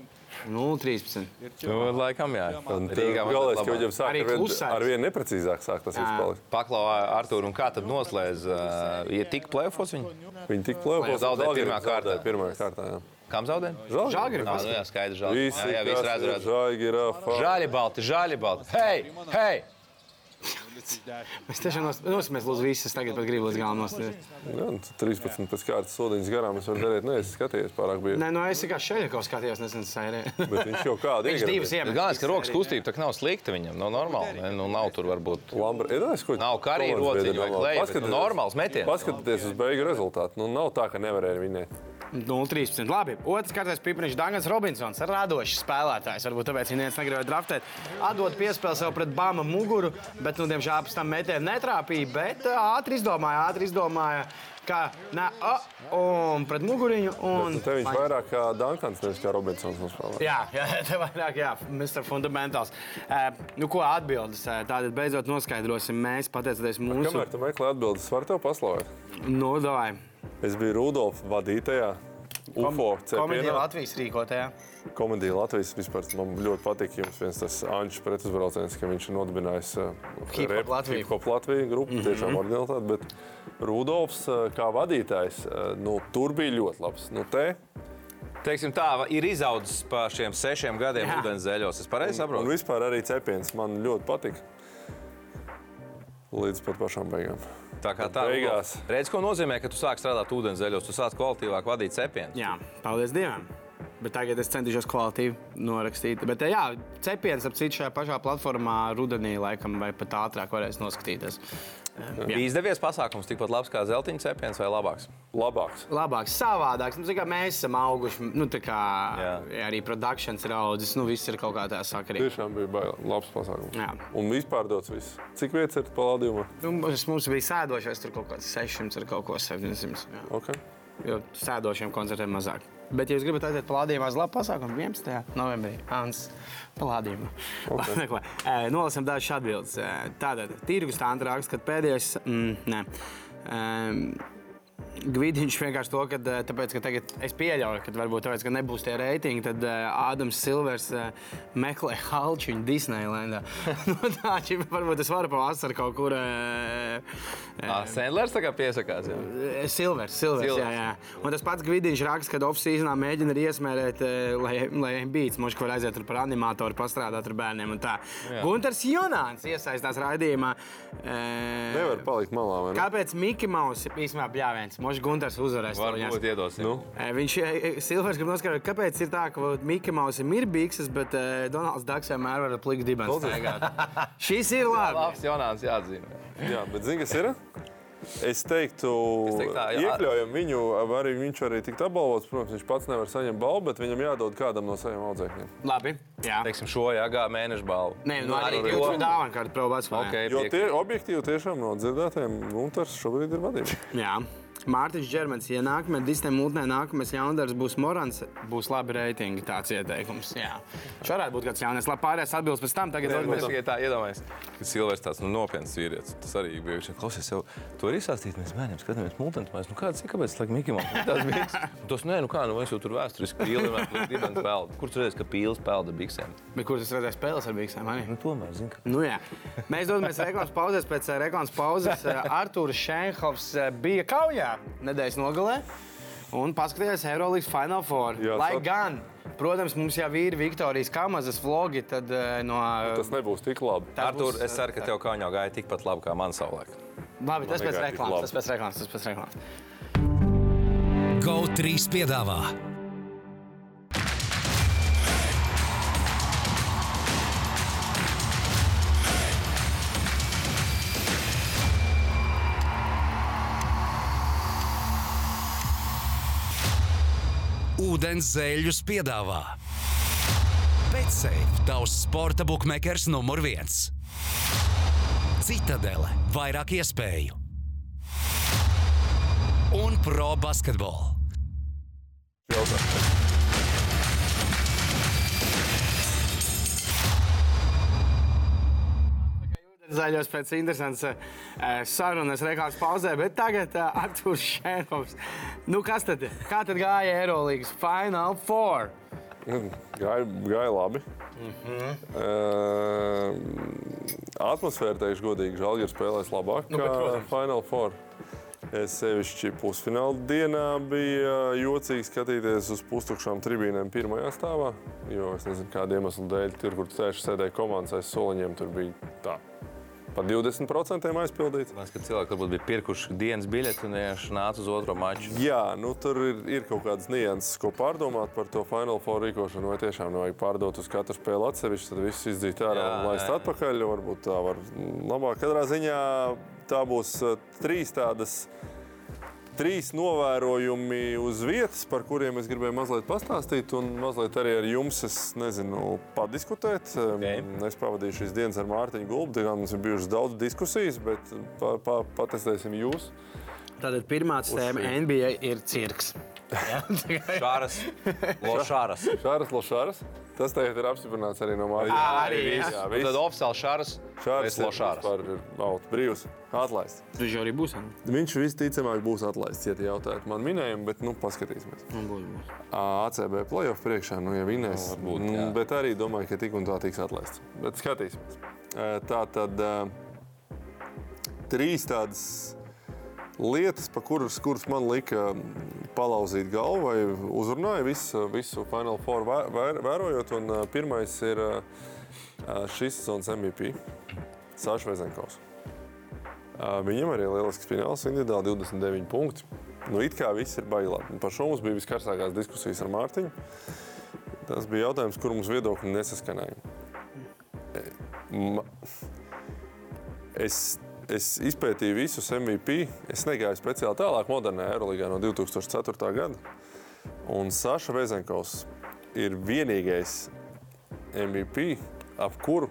0, 13.
Nu, laikam jā.
Un tad
Rīgā man
Galais,
labāk.
ka viņam sāk
Arī
ar vien,
klusais.
ar vien neprecīzāk sāk tas viss palikt.
Paklausā, Artur, un kā tad noslēdz? Uh, ja tik plēfos viņi,
Viņi tik plēpos.
Zaudēja pirmā kārtā.
Pirmā kārtā, jā.
kam zaudē?
Žalgiris.
Jā, nu jā, skaidrs, žāli.
Visi,
Jā, jā,
kas
visi redz,
ir
redz.
Žalgiri, Rafa.
Žāļi balti, žāļi balti. Hei, hei!
Mēs tiešām nos- nosimēs lūdzu visas. Tagad pat gribu līdz galam nostāt.
Jā, nu, 13 pēc kārtas sodiņas garām es varu darīt. Nē, es skatījos pārāk bieži.
Nē, no es tikai Šeļakovs skatījos nesen sērijā.
Bet viņš jau kādu
Viņš divas
iegādājās.
iemet.
Gāvās, ka rokas kustība tā kā nav slikta viņam, nav normāli. ne? Nu, nav tur varbūt.
Lambra, ir tas, ko
Nav kā arī
Kolons
rociņu
biedri
vai
domā.
kleju, bet,
Paskatieties-
nu, normāls metiens.
Paskatieties uz beigu rezultātu. Nu, nav tā, ka nevarēja vinēt.
0,13. Nu, Labi. Otrs kārtas pipariņš Dāngans Robinsons. Radošs spēlētājs. Varbūt tāpēc viņa neviens negribēja draftēt. Atdot piespēli sev pret Bāma muguru, bet, nu, diemžēl pēc tam metienu netrāpīja. Bet ā, ātri izdomāja, ātri izdomāja, ka ne, a, un pret muguriņu. Un...
Un nu, te viņš vairāk kā Dankans, nevis kā Robinsons nospēlē.
Jā, jā, tā vairāk, jā, Mr. Fundamentāls. Uh, nu, ko atbildes? Uh, tātad beidzot noskaidrosim mēs, pateicoties mūsu Nu,
Kamēr tu meklē atbildes, var tev paslavēt.
nodavai.
Es biju Rudolf vadītājā. UFO
Komēdija
cepienā.
Latvijas rīkotajā.
Komēdija Latvijas vispār man ļoti patīk. Jums viens tas Ančs pretuzbrauciens, ka viņš ir nodibinājis uh,
Hip Hop Latviju.
Hip-hop Latviju grupu, mm
Mhm.
-hmm. tiešām originalitāte. Bet Rudolfs eh, kā vadītājs, eh, nu, tur bija ļoti labs. Nu, te,
Teiksim tā, ir izaudzis pa šiem sešiem gadiem
Jā.
ūdenzēļos. Es pareizi
un
saprotu.
vispār arī cepiens man ļoti patika. Līdz pat pašām beigām.
Tā kā tā nu,
Beigās.
Redz, ko nozīmē, ka tu sāk strādāt ūdenzēļos, tu sāc kvalitīvāk vadīt cepienus.
Jā, paldies Dievam. Bet tagad es centīšos kvalitāti norakstīt. Bet, eh, jā, cepiens ap citu šajā pašā platformā rudenī, laikam, vai pat ātrāk varēs noskatīties.
Bija izdevies pasākums tikpat labs kā zeltaini cepiens vai labāks?
Labāks.
Labāk, savādāk. Nu, tā kā mēs esam auguši, nu, tā kā
Jā.
arī produkcijas raudzes, nu, viss ir kaut kā tā sakarība.
Tiešām bija bail, labs pasākums.
Jā.
Un vispār dots viss. Cik vietas ir palādījumā?
Nu, mums mums bija sēdošais, tur kaut kāds 600 ar kaut ko 700. Jā.
Okay.
Jo sēdošiem koncertiem mazāk. Bet, ja jūs gribat aiziet plādījumā, uz labu pasākumu 11. novembrī, Ants plādījumā. Okay. Nolasim dažas atbildes. Eh, Tātad, tirgus tā antrāks, kad pēdējais. Mm, nē. Em, Gvidiņš vienkārši to, ka, eh, tāpēc, ka tagad es pieļauju, ka varbūt tāpēc, ka nebūs tie reitingi, tad eh, Ādams Silvers eh, meklē halčiņu Disneylandā. nu, tā, šī varbūt es varu pavasarī kaut kur. eh, eh,
Ā, Sendlers tagad piesakās. jā.
Silvers, Silvers,
Silvers.
jā, jā. Un tas pats Gvidiņš raksta, ka off-seasonā mēģina arī iesmērēt, eh, lai, lai beigts, moškā var aiziet tur par animatoru, pastrādāt ar bērniem un tā. Gunārs Junāns iesaistās raidījumā. eh,
Nevar palikt malā. vai ne?
Kāpēc Mikls Maus īstenībā bija viens? Mošs Gunārs uzvarēs. to jāsaka.
Varbūt iedosim.
Nu,
Eh, Viņš eh, eh, Silvers grib noskaidrot, kāpēc ir tā, ka Mikls Maus ir bikses, bet eh, Donalds Dārgs vienmēr var ar pliku dibens staigāt. Šis ir labi.
Labs Jonāns jāatzīmē.
Jā, bet zini, kas ir? Es teiktu,
Es teiktu tā, jā.
iekļaujam viņu, arī viņš arī tikt apbalvots. Protams, viņš pats nevar saņemt balvu, bet viņam jādod kādam no saviem audzēkļiem.
Labi. Jā.
Teiksim, šo jāgā mēneša balvu.
Nē, nu, arī
to.
tur dāvana kārta probāts.
Okay,
Jo
piek-
tie objektīvi tiešām no dzirdētājiem Gunters šobrīd ir vadībā.
Jā. Mārtiņš Čermans, ja nākamajā Disneja mūtnē nākamais jaundars būs Morans, būs labi reitingi. Tāds ieteikums. Jā. Šis varētu būt kāds jauns. Labi, pārējais atbildes pēc tam. Tagad
Es
atbildes.
tikai tā iedomājos, ka cilvēks tāds nu, nopietns vīrietis. Tas arī bija viņš. Klausies, jau to ir izstāstījis. Mēs bērniem skatāmies, mūžīgi, nu, kāds ir kāpēc, laikam, Mikls. Tas bija. Tas nē, nu kā, nu, es jau tur vēsturiski pīlēju, vienmēr gribēju peldu. Kur tur redzēs, ka pīlis pelda biksēm?
Bet kur tas redzēs spēles ar bīkstiem?
Nu, tomēr, zini, ka.
Nu, jā. Mēs dodamies reklāmas pauzēs. Pēc eh, reklāmas pauzes eh, Artūrs Šenhovs eh, bija kaujā nedēļas nogalē un paskatījās Eirolandes Final Four.
Jā,
Lai
sat-
gan, protams, mums jau ir Viktorijas Kamazas vlogi tad, eh, no.
Tas nebūs tik labi.
Tā
Artur,
būs,
es ceru, ka tev kā jau gāja tikpat labi kā man savulaik.
Labi, tas pēc
negāja tik labi.
reklāmas. Tas pēc reklāmas. Tas pēc reklāmas.
GO3 piedāvā ūdens zēļus piedāvā. Pēcsēde, tavs sporta buklets numur viens. Citadele, vairāk iespēju un pro basketbolu.
Jautājums.
Zaļos pēc interesantas eh, sarunas, reklāmas pauzē, bet tagad eh, Arthurs Šēnovs. Nu, kas tad? Kā tad gāja Eirolandes Final Four?
Gāja, gāja labi. Uh, atmosfēra, teikšu, godīgi, Žalgiris spēlēs labāk nu, nekā
protams.
Final Four. Es sevišķi pusfināla dienā bija jocīgi skatīties uz pustukšām tribīnēm pirmajā stāvā. Jo es nezinu, kāda iemesla dēļ tur, kur sēž sēdēja komandas aiz soliņiem, tur bija tā. Pa 20% aizpildīts.
Mēs, kad cilvēki varbūt bija pirkuši dienas biļeti un vienkārši nāca uz otro maču.
Jā, nu tur ir, ir kaut kādas nianses, ko pārdomāt par to finālu formu rīkošanu. Vai tiešām vajag pārdot uz katru spēli atsevišķi, tad viss izdzīt ārā
Jā,
un laist
jā.
atpakaļ. Varbūt tā var mm, labāk. Katrā ziņā tā būs eh, trīs tādas. Trīs novērojumi uz vietas, par kuriem es gribēju mazliet pastāstīt, un mazliet arī ar jums, es nezinu, padiskutēt.
Ok.
Es pavadīju šīs dienas ar Mārtiņu Gulbu, tā kā mums ir bijušas daudz diskusijas, bet mm, pa, pa, patestēsim jūs.
Tātad pirmā tēma NBA ir cirks.
Šāras, lošāras.
Šāras Lošāras. Tas tagad ir apstiprināts arī no Mārijas.
arī, jā.
jā,
Un
viss.
Nu, Tad oficiāli šāras,
Šāras
šāras, lošāras.
vispār ir out, brīvs, atlaists.
Tu jau arī būsi.
Viņš visticamāk būs atlaists, ja tie jautājat man minējumu, bet nu paskatīsimies. Ā, ACB playoff priekšā, nu, ja vinnēs,
Nu, varbūt,
nu,
jā.
bet arī domāju, ka tik un tā tiks atlaists. Bet skatīsimies. Ē, Tā tad ā, trīs tādas lietas, pa kuras, kuras man lika palauzīt galvu, vai uzrunāja visu, visu Final Four vē- vē- vērojot. Un ā, pirmais ir ā, ā, šīs sezonas MVP Sāša Vezenkovs. Ā, Viņam arī lielisks fināls, individuāli 29 punkti. Nu, it kā viss ir baigts labi. Un Par šo mums bija viskarstākās diskusijas ar Mārtiņu. Tas bija jautājums, kur mums viedokļi nesaskanēja. E, ma- Es, es izpētīju visus MVP. Es negāju speciāli tālāk, modernā aerolīgā no 2004. gada. Un Saša Vezenkovs ir vienīgais MVP, ap kuru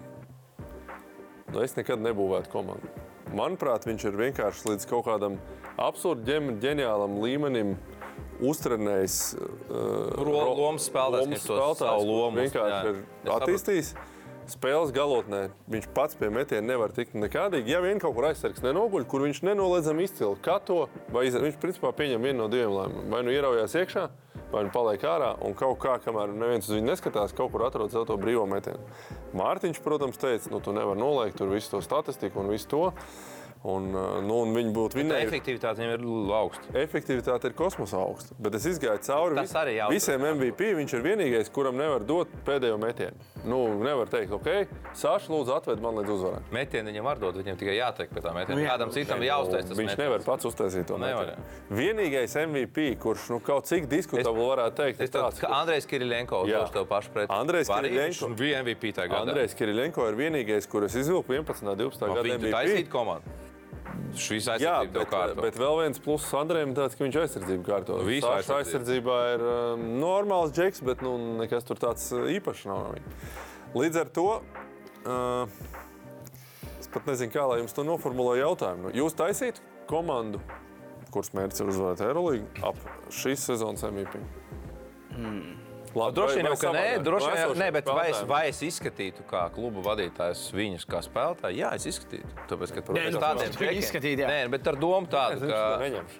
nu, es nekad nebūvētu komandu. Manuprāt, viņš ir vienkārši līdz kaut kādam absurdi ģen- ģeniālam līmenim uztrenējis uh,
Ro-
ro-
lomas spēlētājs,
lomas
kas to savu
spēlētājs,
lomu
kurš
jā.
vienkārši
Es
ir
saprotu.
attīstījis. Spēles galotnē viņš pats pie metiena nevar tikt nekādīgi. Ja vien kaut kur aizsargs nenoguļ, kur viņš nenoliedzami izcili kato, vai iz... viņš principā pieņem vienu no diviem lēmumiem. Vai nu ieraujās iekšā, vai nu paliek ārā, un kaut kā, kamēr neviens uz viņu neskatās, kaut kur atrod sev to brīvo metienu. Mārtiņš, protams, teica, nu tu nevari noliegt tur visu to statistiku un visu to. Un, uh, nu, un viņi būtu
Tā
vinnējuši.
efektivitāte viņam ir augsta.
Efektivitāte ir kosmosa augsta, bet es gāju cauri
Tas arī jautājums.
visiem MVP. Viņš ir vienīgais, kuram nevar dot pēdējo metienu. Nu, nevar teikt, ok, Sāša, lūdzu, atved man līdz uzvarai.
Metienu viņam var dot, viņam tikai jātiek pie tā metiena.
Nu, jā.
Kādam citam jāuztais tas
Viņš
metiens.
nevar pats uztaisīt to
Nevar,
metienu. Vienīgais MVP, kurš nu, kaut cik diskutabli varētu teikt,
Es
ir tāds,
tādu kā Andrejs Kirillenko
Jā.
uzdošu tev pašu pretī.
Andrejs Kirilenko.
Viņš bija MVP tajā gadā.
Andrejs Kirilenko ir vienīgais, kur es izvilku 11. un 12.
Kirilenko.
gada
Viņš bija
MVP.
taisīt komandu. Šīs
Jā,
aizsardzības tev
bet,
kārtībā.
bet vēl viens pluss Andrejam ir tāds, ka viņš aizsardzību kārto.
Nu, visu
Sāša
aizsardzību.
aizsardzībā ir um, normāls džeks, bet nu, nekas tur tāds uh, īpašs nav. no viņa. Līdz ar to. Uh, es pat nezinu, kā lai jums to noformulēju jautājumu. Nu, Jūs taisītu komandu, kuras mērķis ir uzvarēt Eirolandu, ap šīs sezonas MVP? Labi,
Hmm. Droši vien
vai-
jau
vai
ka nē,
savādāk?
droši
No
vien jau
esošiem
nē, bet vai es,
spēlētājiem?
vai es izskatītu kā kluba vadītājs viņus kā spēlētāju? Jā, es izskatītu. Tāpēc, ka
Nē,
pēc
nu,
tādiem
tu izskatīt, jā.
Nē, nu, bet ar domu
Es
tādu,
viņš to
ka...
neņemšu.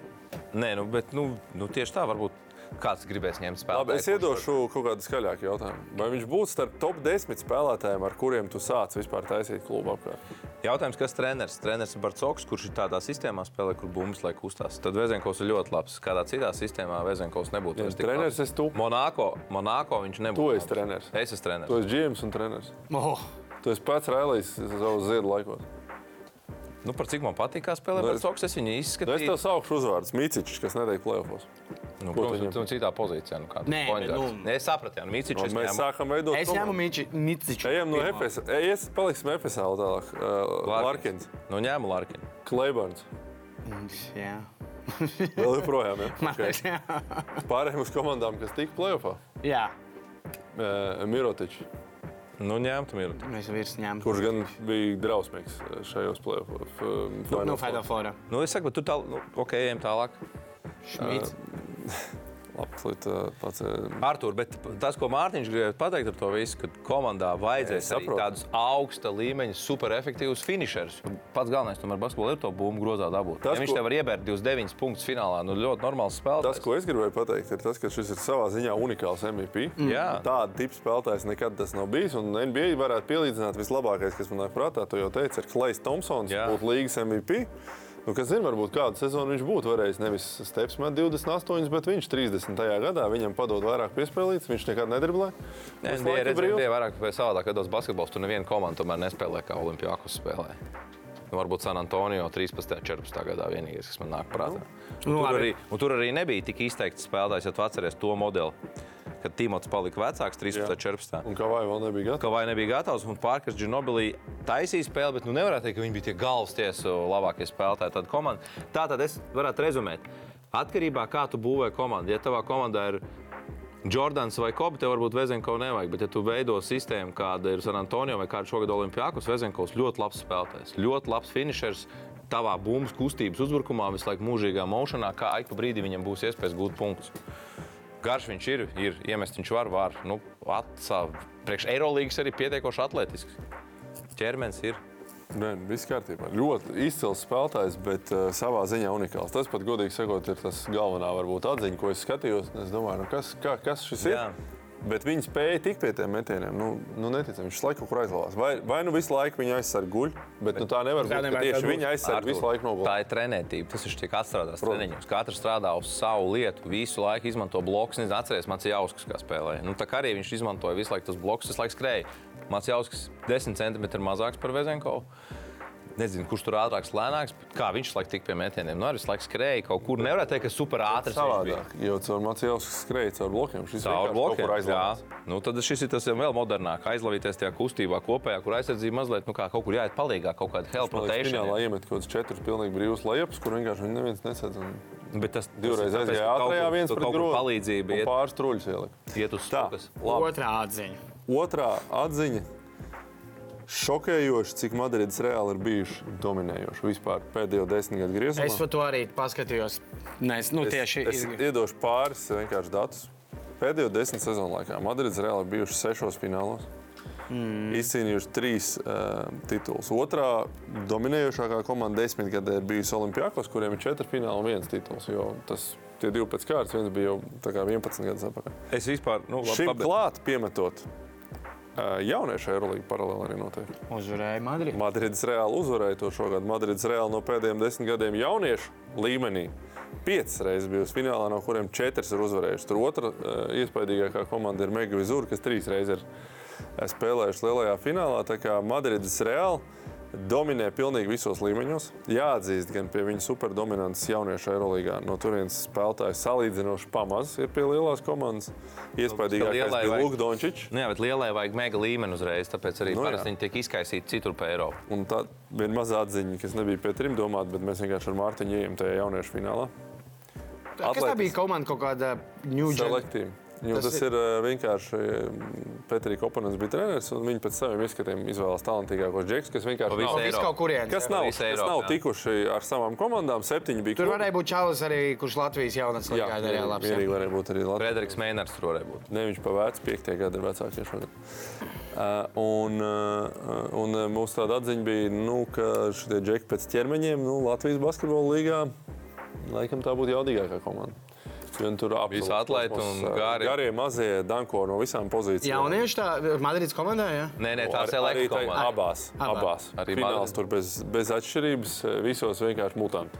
Nē, nu, bet, nu, nu tieši tā varbūt kāds gribēs ņemt spēlētāju.
Labi, es
kurš var-
iedošu kaut kādu skaļāku jautājumu. Vai viņš būtu starp top 10 spēlētājiem, ar kuriem tu sāc vispār taisīt klubu apkārt?
Jautājums, kas treneris? Treneris ir Barcoks, kurš ir tādā sistēmā spēlē, kur bumbas lai kustās. Tad Vēzenkovs ir ļoti labs. Kādā citā sistēmā Vēzenkovs nebūtu. vairs tik
treneris
labs.
esi tu.
Monako, Monako viņš nebūtu.
Tu esi
labs.
treneris.
Es esmu
Tu
treneris.
esi Džims un treneris.
Oh,
Tu esi pats Rēlīs savus ziedu laikos.
Nu, par cik man patīk, kā spēlē
Nu, es-
Barcoks, es viņu
Nu, es
izskatīju.
tev saukšu uzvārdus Mīcičs, kas netiek plēvos.
Nu,
Ko
protams,
tu ņem?
tu citā pozīcijā. Nu, kāds
Nē,
point
bet,
guards.
nu-
Nē, es sapratu, Jānis Mīciņš.
Un mēs sākam veidot.
es ņemu
komandu.
Miči Niciču.
Ejam no
Pirmo.
Efesa. Ej, Es paliksim Efesā vēl tālāk. Uh, Larkins,
Nu, ņēmu Larkinu.
Kleiborns,
Jā.
Vēl joprojām. Ja?
Man
Okay.
liekas, jā.
Pārējiem uz komandām, kas Uh, tika plēsoņā,
jā,
Mirotičs,
Nu, ņemtu mirkli.
mēs vīrs ņēmām.
kurš gan bija drausmīgs eh, šajos um, plēsoņos.
No Final Four.
Nu, es saku, bet tu tālāk, nu, ok, ejam tālāk.
Šmīts.
Labs, līdz pats. eh,
Artur, bet tas, ko Mārtiņš gribēja pateikt ar to visu, ka komandā vajadzēs
Es
arī
saprotu.
tādus augsta līmeņa, superefektīvus finišerus. Pats galvenais, tomēr, basketbolā ir to bumbu grozā dabūt.
Tas,
Tas, ja viņš
ko-
ko... tev var iebērt 29 punktus finālā, nu ļoti normāls
Tas,
spēlētājs.
ko es gribēju pateikt, ir tas, ka šis ir savā ziņā unikāls MVP.
Mm. Jā.
Tāda tipa spēlētājs nekad tas nav bijis. Un NBA varētu pielīdzināt vislabākais, kas manā prātā, to jau teica, ir Klais Thompsons,
Jā.
būtu līgas MVP. Nu, kas zina, varbūt kādu sezonu viņš būtu varējis. Nevis Steps met 28, bet viņš 30. gadā viņam padod vairāk piespēlītas, viņš nekad nedriblē.
Nē,
Visu
NBA
laiku
redz,
brīvi.
NBA vairāk vai savādāk, kad tas basketbols tur neviena komanda tomēr nespēlē kā Olimpijākus spēlē. Nu, varbūt San Antonio 13. un 14. gadā vienīgais, kas man nāk prātā. Un
Nu,
tur, arī,
labi.
un tur arī nebija tik izteikts spēlētājs, ja tu atceries to modeli, kad Timots palika vecāks 13. un 14.
Un kā vai vēl nebija gatavs?
Ka vai nebija gatavs, un Parkers Džinobilī taisīja spēli, bet nu nevarētu teikt, ka viņi bija tie galvastiesu labākie spēlētāji. Tad komanda. Tā tad es varētu rezumēt. Atkarībā no tā, kā tu būvē komandu. Ja tavā komandā ir Jordans vai Kobe, tev varbūt Vezenkovs nevajag, bet ja tu veido sistēmu, kāda ir San Antonio vai kāda šogad Olimpijākos, Vezenkovs ļoti labs spēlētājs, ļoti labs finišers. Tavā bumbas kustības uzbrukumā, visu laiku mūžīgā mošanā, kā ik pa brīdim viņam būs iespējas gūt punktus. Garš viņš ir, ir iemest viņš var, var. Nu, atsā, priekš Eirolandes arī pietiekoši atletisks. Cermenis ir.
Nē, nu, viss kārtībā. Ļoti izcils spēlētājs, bet uh, savā ziņā unikāls. Tas pat, godīgi sakot, ir tas galvenā varbūt, atziņa, ko es skatījos. un Es domāju, nu, kas, kā, kas šis
Jā.
ir? Bet viņi spēja tikt pie tiem metieniem. Nu, nu neticami, viņš laiku kur aizlavās. Vai, vai nu visu laiku viņa aizsargā guļ, bet nu, tā nevar būt. ka
nevar tā
Tieši
būt.
viņa aizsargā visu laiku
tā
nogulē.
ir trenētība. Tas viņš tiek atstrādāts treniņos. Katrs strādā uz savu lietu, visu laiku izmanto blokus. Nezinu, atcerieties, Mats Jauskas, kā spēlēja. Nu, tā kā arī viņš izmantoja visu laiku tos blokus, tas laiks skrēja. Mats Jauskas 10 centimetri mazāks par Vezenkovu. Nezinu, kurš tur ātrāks, lēnāks, bet kā viņš laikam tika pie metieniem. Nu, arī visu laiku skrēja kaut kur. Nevarētu teikt, ka super ātrs viņš bija.
Savādāk, jo caur Macijaus skrēja caur blokiem. Šis
Caur
vienkārši kaut
blokiem.
kur aizlavās.
jā. Nu, tad šis ir tas jau vēl modernāk. Aizlavīties tajā kustībā kopējā, kur aizsardzība mazliet, nu kā kaut kur jāiet palīgā, kaut kāda help
Man liekas,
rotation.
finālā iemet kaut kāds četrus pilnīgi brīvus lejupus, kur vienkārši viņi neviens nesadz. un
Bet tas
Divreiz
tas ir tāpēc,
aizgāja
ka kaut
ātrajā,
kur-
viens
tur
pret
kaut kur
grozu.
palīdzība,
Un
iet,
Pāris truļus ielika.
iet uz
Tā.
stūres.
Otrā Uh, atziņa.
Otra atziņa. Šokējoši, cik Madrids reāli ir bijuši dominējoši vispār pēdējo desmit gadu griezumā.
Es par to arī paskatījos. Nē, es, nu, tieši
es, es iedošu pāris vienkārši datus. Pēdējo desmit sezonu laikā Madrids reāli ir bijuši sešos finālos. Mm. Izcīnījuši trīs uh, titulus. Otra dominējošākā komanda desmitgadē ir bijusi Olimpijākos, kuriem ir četri fināli un viens tituls. Jo tas tie divi pēc kārtas, viens bija jau tā kā 11 gadus atpakaļ.
Es vispār, nu, labi,
Šim
pabeidz.
klāt piemetot uh, jauniešu Eirolandu paralēli arī notiek.
uzvarēju Madridu.
Madrids reāli uzvarēja to šogad. Madrids reāli no pēdējiem desmit gadiem jauniešu līmenī. Piecas reizes bijusi finālā, no kuriem četras ir uzvarējušas. Tur otra eh, iespaidīgākā komanda ir Mega Vizūra, kas trīs reizes ir eh, spēlējuši lielajā finālā. Tā kā Madrids reāli dominē pilnīgi visos līmeņos. Jāatzīst, gan pie viņa superdominances jauniešu aerolīgā. No turienes spēlētāji salīdzinoši pamaz ir pie lielās komandas. Iespaidīgākais
lielai
bija
vajag-
Lukas Dončičs.
Nu, jā, bet lielai vajag mega līmeni uzreiz, tāpēc arī
Nu,
nu,
jā.
parasti viņi tiek izkaisīti citur pa Eiropu.
Un tā bija mazā atziņa, kas nebija pie trim domāta, bet mēs vienkārši ar Mārtiņu ejam tajā jauniešu finālā.
Kas tā
Atletis.
bija komanda kaut kāda New York?
Selektīvi. Jo
Tas
tas ir eh, vienkārši Petrija Kopanis bija treneris, un viņš pēc saviem izskatiem izvēlējās talantīgākos džekus, kas vienkārši
visu
nav,
Eiropu.
Viss kaut kurien.
kas nav,
visu
kas
Eiropu,
nav
jā.
tikuši ar savām komandām. Septiņi bija
Tur
klubi.
varēja būt Čālis arī, kurš Latvijas jaunatnes
Jā,
līgā darīja labi.
mierīgi varēja būt arī Latvijas.
Frederiks Mēners tur varēja būt.
Ne viņš pavērs, piektie gadi ir vecākie šodien. Uh, un, uh, un uh, mūsu tāda atziņa bija, nu, ka šie džekļi pēc ķermeņiem nu, Latvijas basketbola līgā laikam tā būtu jaudīgākā komanda. Jo nu tur
Visi
absolūti
atlaisti
kosmos,
un
uh,
gari.
Garie mazie danko no visām pozīcijām.
Jaunieši tā Madrids komandā, jā?
Nē, nē, tā
Ar- Nu,
ir
arī
elektrība
tai-
komanda.
Abās.
Abā.
abās.
Arī
Arī fināls
Madrid.
tur bez, bez atšķirības, eh, visos vienkārši mutanti.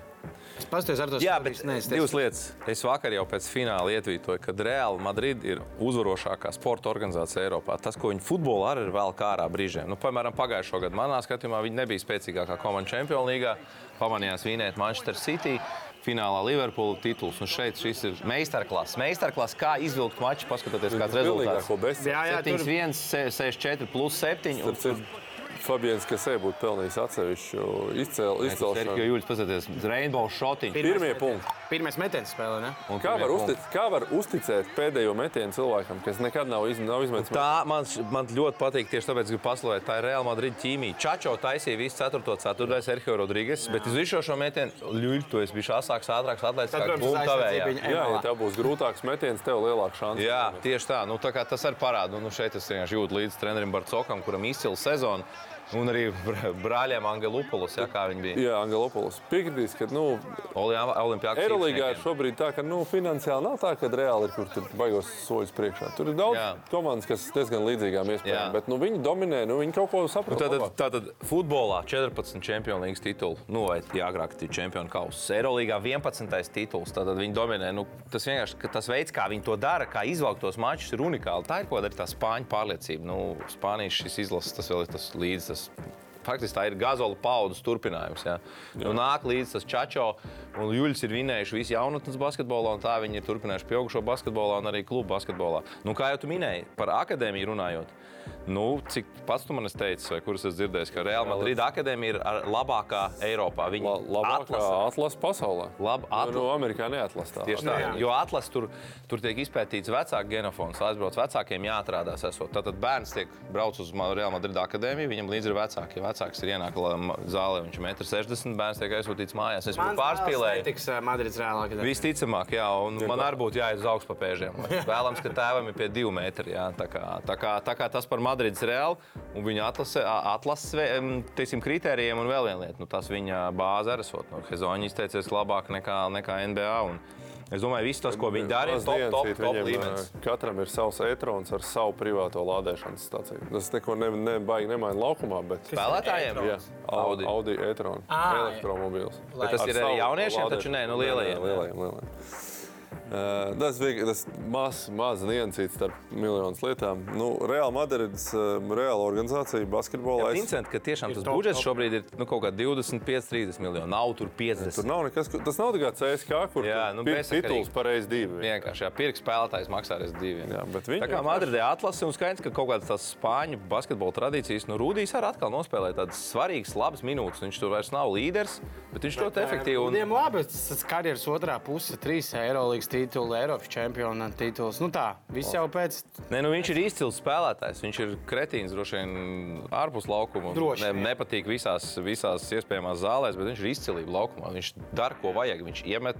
Es pasties ar to
Jā, bet eh,
neesmu
divas lietas. Es vakar jau pēc fināla ietvītoju, ka Real Madrid ir uzvarošākā sporta organizācija Eiropā. Tas, ko viņi futbolā arī ir vēl kā ārā brīžiem. Nu, piemēram, pagājušā gada manā skatījumā viņi nebija spēcīgākā komanda Champions League. Pamanījās vinēt Manchester City. Finālā Liverpoola tituls. Un šeit šis ir meistarklases. Meistarklases, kā izvilkt maču, paskatoties, kāds ir rezultāts.
Pilnīgāko besti.
Jā, jā, tur
7, 1, 6, 4, plus 7.
Starp citu, Fabians Kasē būtu pelnījis atsevišķu izcēl,
Sergio
izcelšanu.
Juļs, paskatieties, Rainbow Shotiņš.
Pirmie punkti.
Pirmais metiens spēlē, ne?
Un
Kā var,
pirmie punkti.
uztic, kā var uzticēt pēdējo metienu cilvēkam, kas nekad nav, iz, nav izmetis?
Tā man, man ļoti patīk, tieši tāpēc, ka paslēdz tā ir Real Madrid ķīmija. Čačo taisīja visu 4. 4. Sergio Rodrīgas, bet uz visu šo metienu ļuļu tu esi bijis asāks, ātrāks, atlaists
Tad,
kā
protams,
bumba tavējā.
aizsardzība
Jā, ja
emalā.
tev būs grūtāks metiens, tev lielāka šansa.
Jā, tieši tā. Nu, tā kā tas arī parāda. Nu, šeit es vienkārši jūtu līdzi trenerim Barcokam, kuram izcila sezona, un arī br- brāļiem Angelopulis, ja, kā viņi bija.
Jā, Angelopolis piekritīs, ka nu,
Olimpijā
Eirolandā ir šobrīd tā, ka nu, finansiāli nav tā, ka reāli ir kur tur baigos soļus priekšā. Tur ir daudz
Jā.
komandas, kas diezgan līdzīgām iespējām,
Jā.
bet nu, viņi dominē, nu, viņi kaut ko saprot.
Tātad,
labāk.
tātad futbolā 14 čempionu līnijas titulu, nu, vai tie agrāk bija čempionu kausa. Eirolandā 11. tituls. Tātad viņi dominē. Nu, tas vienkārši ka tas veids, kā viņi to dara, kā izvelk tos mačus, ir unikāli. Tā ir kaut kāda tā spāņu pārliecība. Nu, Spānijas šis izlases tas vēl ir tas līdzi. Tas Faktiski tā ir gazola paudas turpinājums. Ja? Nu, nāk līdzi tas Čačo un Juļs ir vinējuši visu jaunatnes basketbolā, un tā viņi ir turpinājuši pieaugušo basketbolā un arī klubu basketbolā. Nu, kā jau tu minēji, par akadēmiju runājot, nu, cik pats tu man esi teicis, vai kurus es dzirdēju, ka Real Madrid akadēmija ir ar- labākā Eiropā. Viņi
La- labākā
atlasa.
atlase pasaulē.
Lab-
Nu,
atla-
nu, Amerikā neatlasa tā.
Tieši tā,
Jā.
jo atlases tur, tur tiek izpētīts vecāku genofons, lai aizbrauc vecākiem, jāatrādās. Esot. Tātad bērns tiek braucis uz Ma- Real Madrid akadēmiju, viņam līdzi ir vecāki. Ja vecāks ir ienākts zālē, viņš ir 1,60 m, bērns tiek aizsūtīts mājās. Es būtu pārspīlējis.
Tiks Madrids reālāk.
Visticamāk, jā, un man arī būtu jāiet uz augšu papēžiem. Vēlams, ka tēvam ir pie divi metri. Jā, tā, kā, tā, kā, tā kā tas par Madrides reāli un viņa atlase- a- atlases vē- em, teiksim, kritērijiem un vēl viena lieta. Nu, tas viņa bāze arī esot. No Hezoņa izteicies labāk nekā, nekā NBA. Un es domāju, viss tas, ko viņi dara, ir
Mazs
top,
dienas
top,
ir
top
viņiem,
līmenis.
eh, Katram ir savs etrons ar savu privāto lādēšanas stāciju. Tas neko ne, ne, baigi nemaina laukumā, bet
Spēlētājiem
Jā, Audi,
Audi.
Audi e-tron,
Ā, jā.
elektromobīls.
Bet tas
Ar
ir arī
savu
jauniešiem
lādēšanu.
taču, nē, nu,
Nē,
lielajiem, jā.
lielajiem, lielajiem. Uh, tas bija tas mazs maz niansīts starp miljonus lietām. Nu, Reāla Madrids, uh, reāla organizācija basketbolā. es-
Vincent, ka tiešām tas
top,
budžets
top.
šobrīd ir nu, kaut kā 25, 30 miljoni. Nav tur 50.
Tur nav nekas, ko- tas nav tikai CSK, kur
Jā,
tur
nu,
pir-
bezsakarīgi.
tituls pareizi divi.
Vienkārši pirks spēlētājs maksā arī diviem.
Jā, bet viņi
tā kā
vienkārši-
Madridē atlasa un skaidrs, ka kaut kādas tās spāņu basketbola tradīcijas, nu, Rudijs arī atkal nospēlēja tādas svarīgas, labas minūtes. Viņš tur vairs nav līderis, bet viņš ļoti efektīvi.
Viņam
Un...
labi, tas tas karjeras otrā puse, trīs Eirolandes tituli, Eiropas čempiona tituls. Nu tā, viss jau pēc.
Nē, nu, viņš ir izcils spēlētājs. Viņš ir kretīns, droši vien ārpus laukuma.
Droši vien.
nepatīk visās, visās iespējamās zālēs, bet viņš ir izcilība laukumā. Viņš dara, ko vajag. Viņš iemet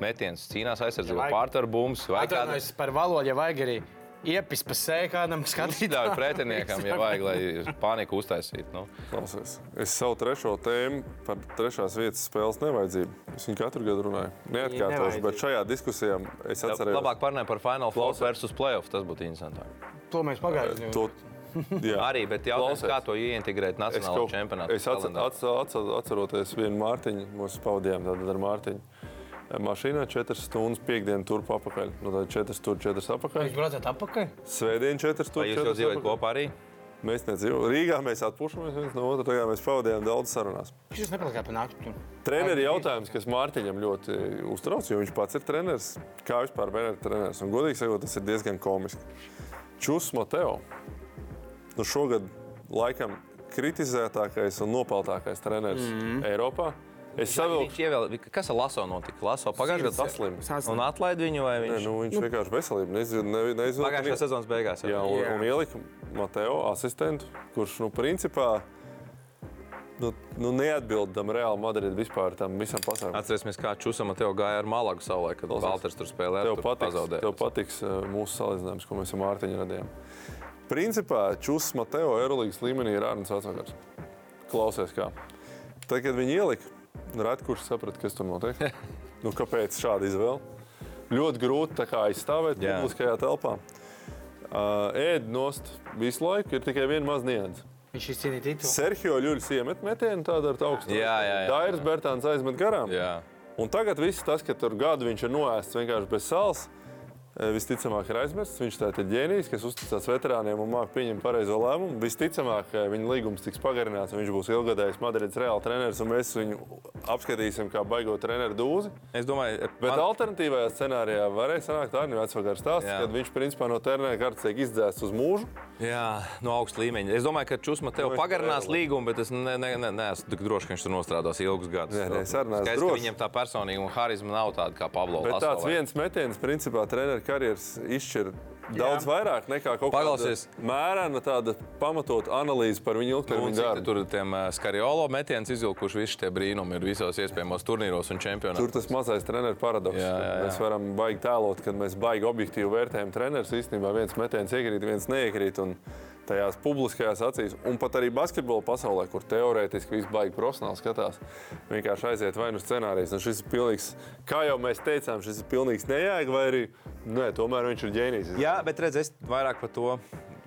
metienus, cīnās aizsardzībā,
Vajag.
pārtver bumbas vai kādā.
Atvainojos par valodu, ja vajag arī iepis pa sēju kādam
Ļauj
skatītājam.
pretiniekam, ja vajag, lai paniku uztaisītu. Nu.
Klausies. Es savu trešo tēmu par trešās vietas spēles nevajadzību. Es viņu katru gadu runāju. Neatkārtošu, bet šajā diskusijā es atceros.
Labāk parunājot par Final Four versus Playoff. Tas būtu interesantāk.
To mēs pagājušajā gadā.
To... Jā.
Arī, bet jautājums,
Klausies.
kā to ieintegrēt
Es,
Nacionālajā
kaut,
čempionātā?
es atce, atce, atce, atceros vienu mārciņu, mēs pavadījām tādu ar Mārtiņu. Mašīnā 4 stundas, piekdiena turp apakaļ. Nu, No tā 4 stundas, 4 apakaļ.
Viņš braucot atpakaļ?
Svētdiena 4
Vai
stundas.
jūs jau dzīvojat kopā arī?
Mēs nedzīvojam. Rīgā mēs atpūšamies viens no otra, tagad mēs pavadījām daudz sarunās.
Viņš jūs nepalikā pa nakti.
Treneris jautājums, kas Mārtiņam ļoti uztrauc, jo viņš pats ir treneris. Kā vispār vērtēt treneris? Un, godīgi sakot, tas ir diezgan komiski. Čus Mateo. Nu šogad laikam kritizētākais un nopeltākais treneris mm. Eiropā. Es savilku,
Viņš ievēl... Kas ar Laso notika? Laso pagājušajā gadā
Saslims.
saslims. Un atlaid viņu vai
Nē,
viņš?
nu, viņš vienkārši veselību neizdevusi.
Pagājušajā sezonas beigās.
Jā,
jau.
un,
Jā.
un ielika Mateo asistentu, kurš, nu, principā, nu, nu neatbildam Reāla Madrida vispār tam visam pasākumam.
Atcerēsimies, kā Čusama tev gāja ar Malagu savulaik, kad Valters tur spēlēja.
Tev patiks,
Pazaudēja.
tev patiks eh, mūsu salīdzinājums, ko mēs ar Mārtiņu radījām. Principā Čūskas Mateo Eirolandes līmenī ir Arnolds Vācijārs. Klausies, kā. Tad, kad viņi ielika, Ratkurš saprata, kas tur notiek. nu, kāpēc šāda izvēle? Ļoti grūti tā kā aizstāvēt
Jā.
publiskajā telpā. Uh, ēd nost visu laiku, ir tikai viena maza nianse.
Viņš izcīnīja titulu.
Sergio Ļuļs iemet metienu tādu ar augstu.
Jā, jā, jā.
Dairis Bertāns aizmet garām.
Jā.
Un tagad viss tas, ka tur gadu viņš ir noēsts vienkārši bez sāls, e, visticamāk ir aizmirsts. Viņš tāds ir ģēnijs, kas uzticas veterāniem un māca pieņemt pareizo lēmumu. Visticamāk, e, viņa līgums tiks pagarināts, un viņš būs ilgadējs Madrides reāls treneris, un mēs viņu apskatīsim kā baigot treneru dūzi.
Es domāju,
Bet
man-
Man... alternatīvajā scenārijā varēja sanākt tā, ka vecvakar stāsts,
Jā.
kad viņš principā no tērnēja kartes tiek izdzēsts uz mūžu.
Jā, no augsta līmeņa. Es domāju, ka Čusma tev
Nu, es
pagarinās
vēl.
līgumu, bet es neesmu ne, ne, neesmu tik drošs, ka viņš tur nostrādās ilgus gadus.
Nē, nē, es arī neesmu
Skaidrs, ka
drošs.
Viņam tā personīga un harizma nav tāda kā Pablo.
Bet tāds
Lasola.
viens metiens, principā, treniņa karjeras izšķir daudz vairāk nekā kaut
Paklausies.
kāda mērena, tāda pamatota analīze par viņu
Un
ilgtermiņu
cik te
darbu.
tur tiem eh, skariolo metieniem izvilkuši visi šie brīnumi ir visos iespējamos turnīros un
Tur
čempionātos.
tas mazais treniņa paradoks.
Jā, jā, jā.
Mēs varam baigi tēlot, kad mēs baigi objektīvi vērtējam treniņus. Īstenībā viens metiens iekrīt, viens neiekrīt. Un tajās publiskajās acīs, un pat arī basketbola pasaulē, kur teorētiski viss baigi profesionāli skatās, vienkārši aiziet vai nu scenārijs. Un šis ir pilnīgs, kā jau mēs teicām, šis ir pilnīgs nejēga, vai arī nē, tomēr viņš ir ģēnijs.
Jā, bet redz, es vairāk par to.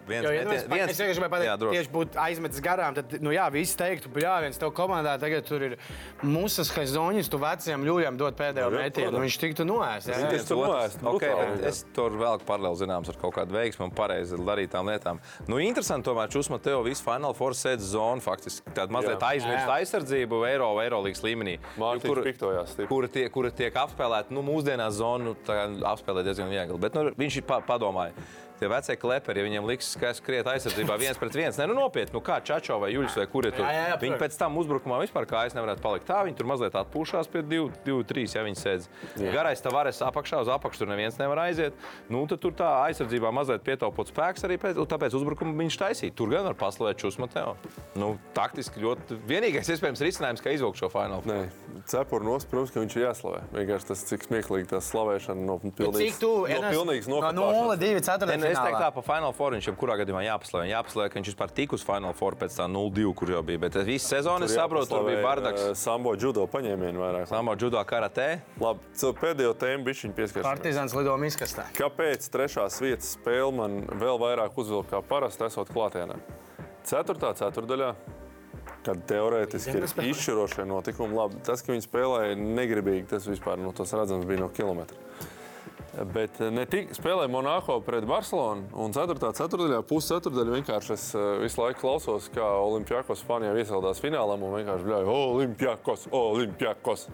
Viens
Jo, ja nu, es
metien-
pa- es vienkārši gribēju
Jā,
pateikt, ka
droši.
tieši būtu aizmetis garām. Tad, nu, jā, viss teiktu, jā, viens tev komandā tagad tur ir musas hazoņas, tu veciem ļūļiem dod pēdējo
Nu, jā,
metienu.
protams.
Viņš tiktu noēsts. jā.
Tas
Viens
tur
otrs.
noēst,
okay,
brutāli,
bet
jā.
es tur vēl paralēli zināms ar kaut kādu veiksmu un pareizi darītām lietām. Nu, interesanti, tomēr, Čusma, tev viss Final Four sēdz zona faktiski. Tāda mazliet
Jā.
aizmirsta aizsardzību Eiro, Eirolīgas līmenī.
Mārtiņš
Jo,
piktojās stipri.
Kura tiek, kura tiek apspēlēta, nu, mūsdienās zonu nu, tā kā apspēlē diezgan viegli. Bet nu, viņš ir pa, padomājis. Tie vecie kleperi, ja viņiem liks, ka es skrietu aizsardzībā viens pret viens, ne, nu nopietni, nu kā Čačo vai Juļs vai kur ir tur.
Jā, jā, jā,
viņi
protams.
pēc tam uzbrukumā vispār kājas nevarētu palikt. Tā viņi tur mazliet atpūšās pie 2-3, ja viņi sēdz. Garais tā varēs apakšā, uz apakšu tur neviens nevar aiziet. Nu, tad tur tā aizsardzībā mazliet pietaupot spēks arī pēc, un tāpēc uzbrukumu viņš taisīja. Tur gan var paslavēt Čusma tev. Nu, taktiski ļoti vienīgais iespējams risinājums, kā izvilkt šo finālu.
Nē, cepura nos, protams, ka viņš ir jāslavē. Vienkārši tas, cik smieklīgi tā slavēšana no
Bet
pilnīgas,
Cik tu
no pilnīgas
No 0,
nokopšanas.
2, 4.
Nē, nu, es teiktu, tā par Final Four viņš jebkurā gadījumā jāpaslavē. Jāpaslavē, ka viņš vispār tika uz Final Four pēc tā 0-2, kur jau bija. Bet visu sezonu es saprotu, tur bija bardaks.
Sambo džudo paņēmienu vairāk.
Samā judo karatē.
Labi, so pēdējo tēmu bišķiņu pieskarsimies.
Partizāns lido miskastā.
Kāpēc trešās vietas spēle man vēl vairāk uzvilka kā parasti, esot klātienē? Ceturtā ceturdaļā, kad teorētiski ir izšķirošie notikumi, labi, tas, ka viņi spēlēja negribīgi, tas vispār nu, tas redzams bija no kilometra. Bet eh, ne tik spēlēja Monako pret Barcelonu. Un 4. ceturtajā pusceturdaļā vienkārši es eh, visu laiku klausos, kā Olimpijakos Spānijā iesaistās finālā un vienkārši bļauju Olimpijakos, Olimpijakos.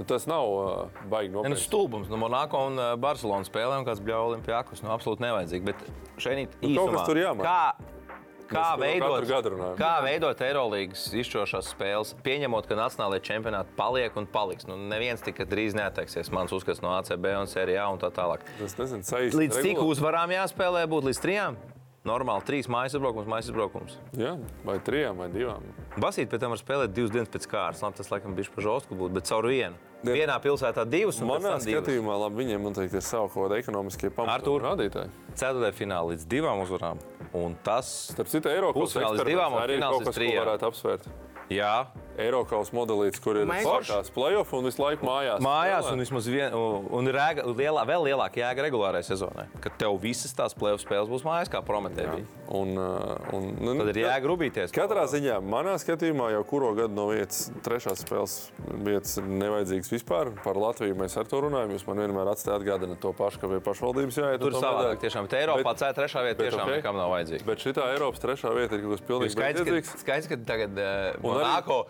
Nu, tas nav uh, baigi
Nu,
nopietni.
stulbums no Monako un eh, Barcelonas spēlēm, kāds bija Olimpijākus. Nu, absolūti nevajadzīgi. Bet šeit
Nu, kaut kas tur jāmaina.
Kā, kā
Mēs par to katru
veidot,
gadu runājam.
kā veidot Eirolandes izšķirošās spēles, pieņemot, ka nacionālajie čempionāti paliek un paliks. Nu, neviens tik drīz neatteiksies. Mans uzskats no ACB un Sērijā un tā tālāk.
Tas nezinu, saīsināts.
Līdz cik uzvarām jāspēlē būt līdz trijām? Normāli trīs mājas uzbrukums, mājas uzbrukums.
Jā, vai trijām, vai divām.
Basīt pēc tam var spēlēt divas dienas pēc kārtas. Labi, tas laikam bija pašausku būtu, bet caur vienu.
Ne.
Vienā pilsētā divas un
Manā
pēc tam divas.
skatījumā, labi, viņiem noteikti ir savi kaut kādi ekonomiskie pamati
Artur.
un rādītāji.
Ceturtajā finālā līdz divām uzvarām. Un tas,
Starp citu, Eiropas
Pusfināls divām un
arī ir
fināls
kaut
uz
kas, ko
trijām.
varētu apsvērt.
jā,
Eiropas modelīts, kur ir
Mēs-
sākās playoff un visu laiku mājās.
mājās
spēlē.
un vismaz vien, un rēga, lielā, vēl lielāka jēga regulārajā sezonā, kad tev visas tās plēsoņu spēles būs mājās, kā prometē bija.
Un, uh, un, nu,
Tad ir jēga rūpīties.
Katrā ziņā, manā skatījumā, jau kuru gadu no vietas, trešās spēles vietas ir nevajadzīgs vispār. Par Latviju mēs ar to runājam. Jūs man vienmēr atstājat atgādina to pašu, ka pie pašvaldības jāiet.
Tur
un to
savādāk
medaļu.
tiešām. Bet Eiropā
Bet-
C trešā vieta
bet
tiešām
ok.
nekam nav vajadzīga.
Bet šī Eiropas trešā vieta ir kaut kas
Jo
pilnīgi
Skaidrs,
bezjēdzīgs.
ka, skaidrs, ka tagad uh,
arī-
Monako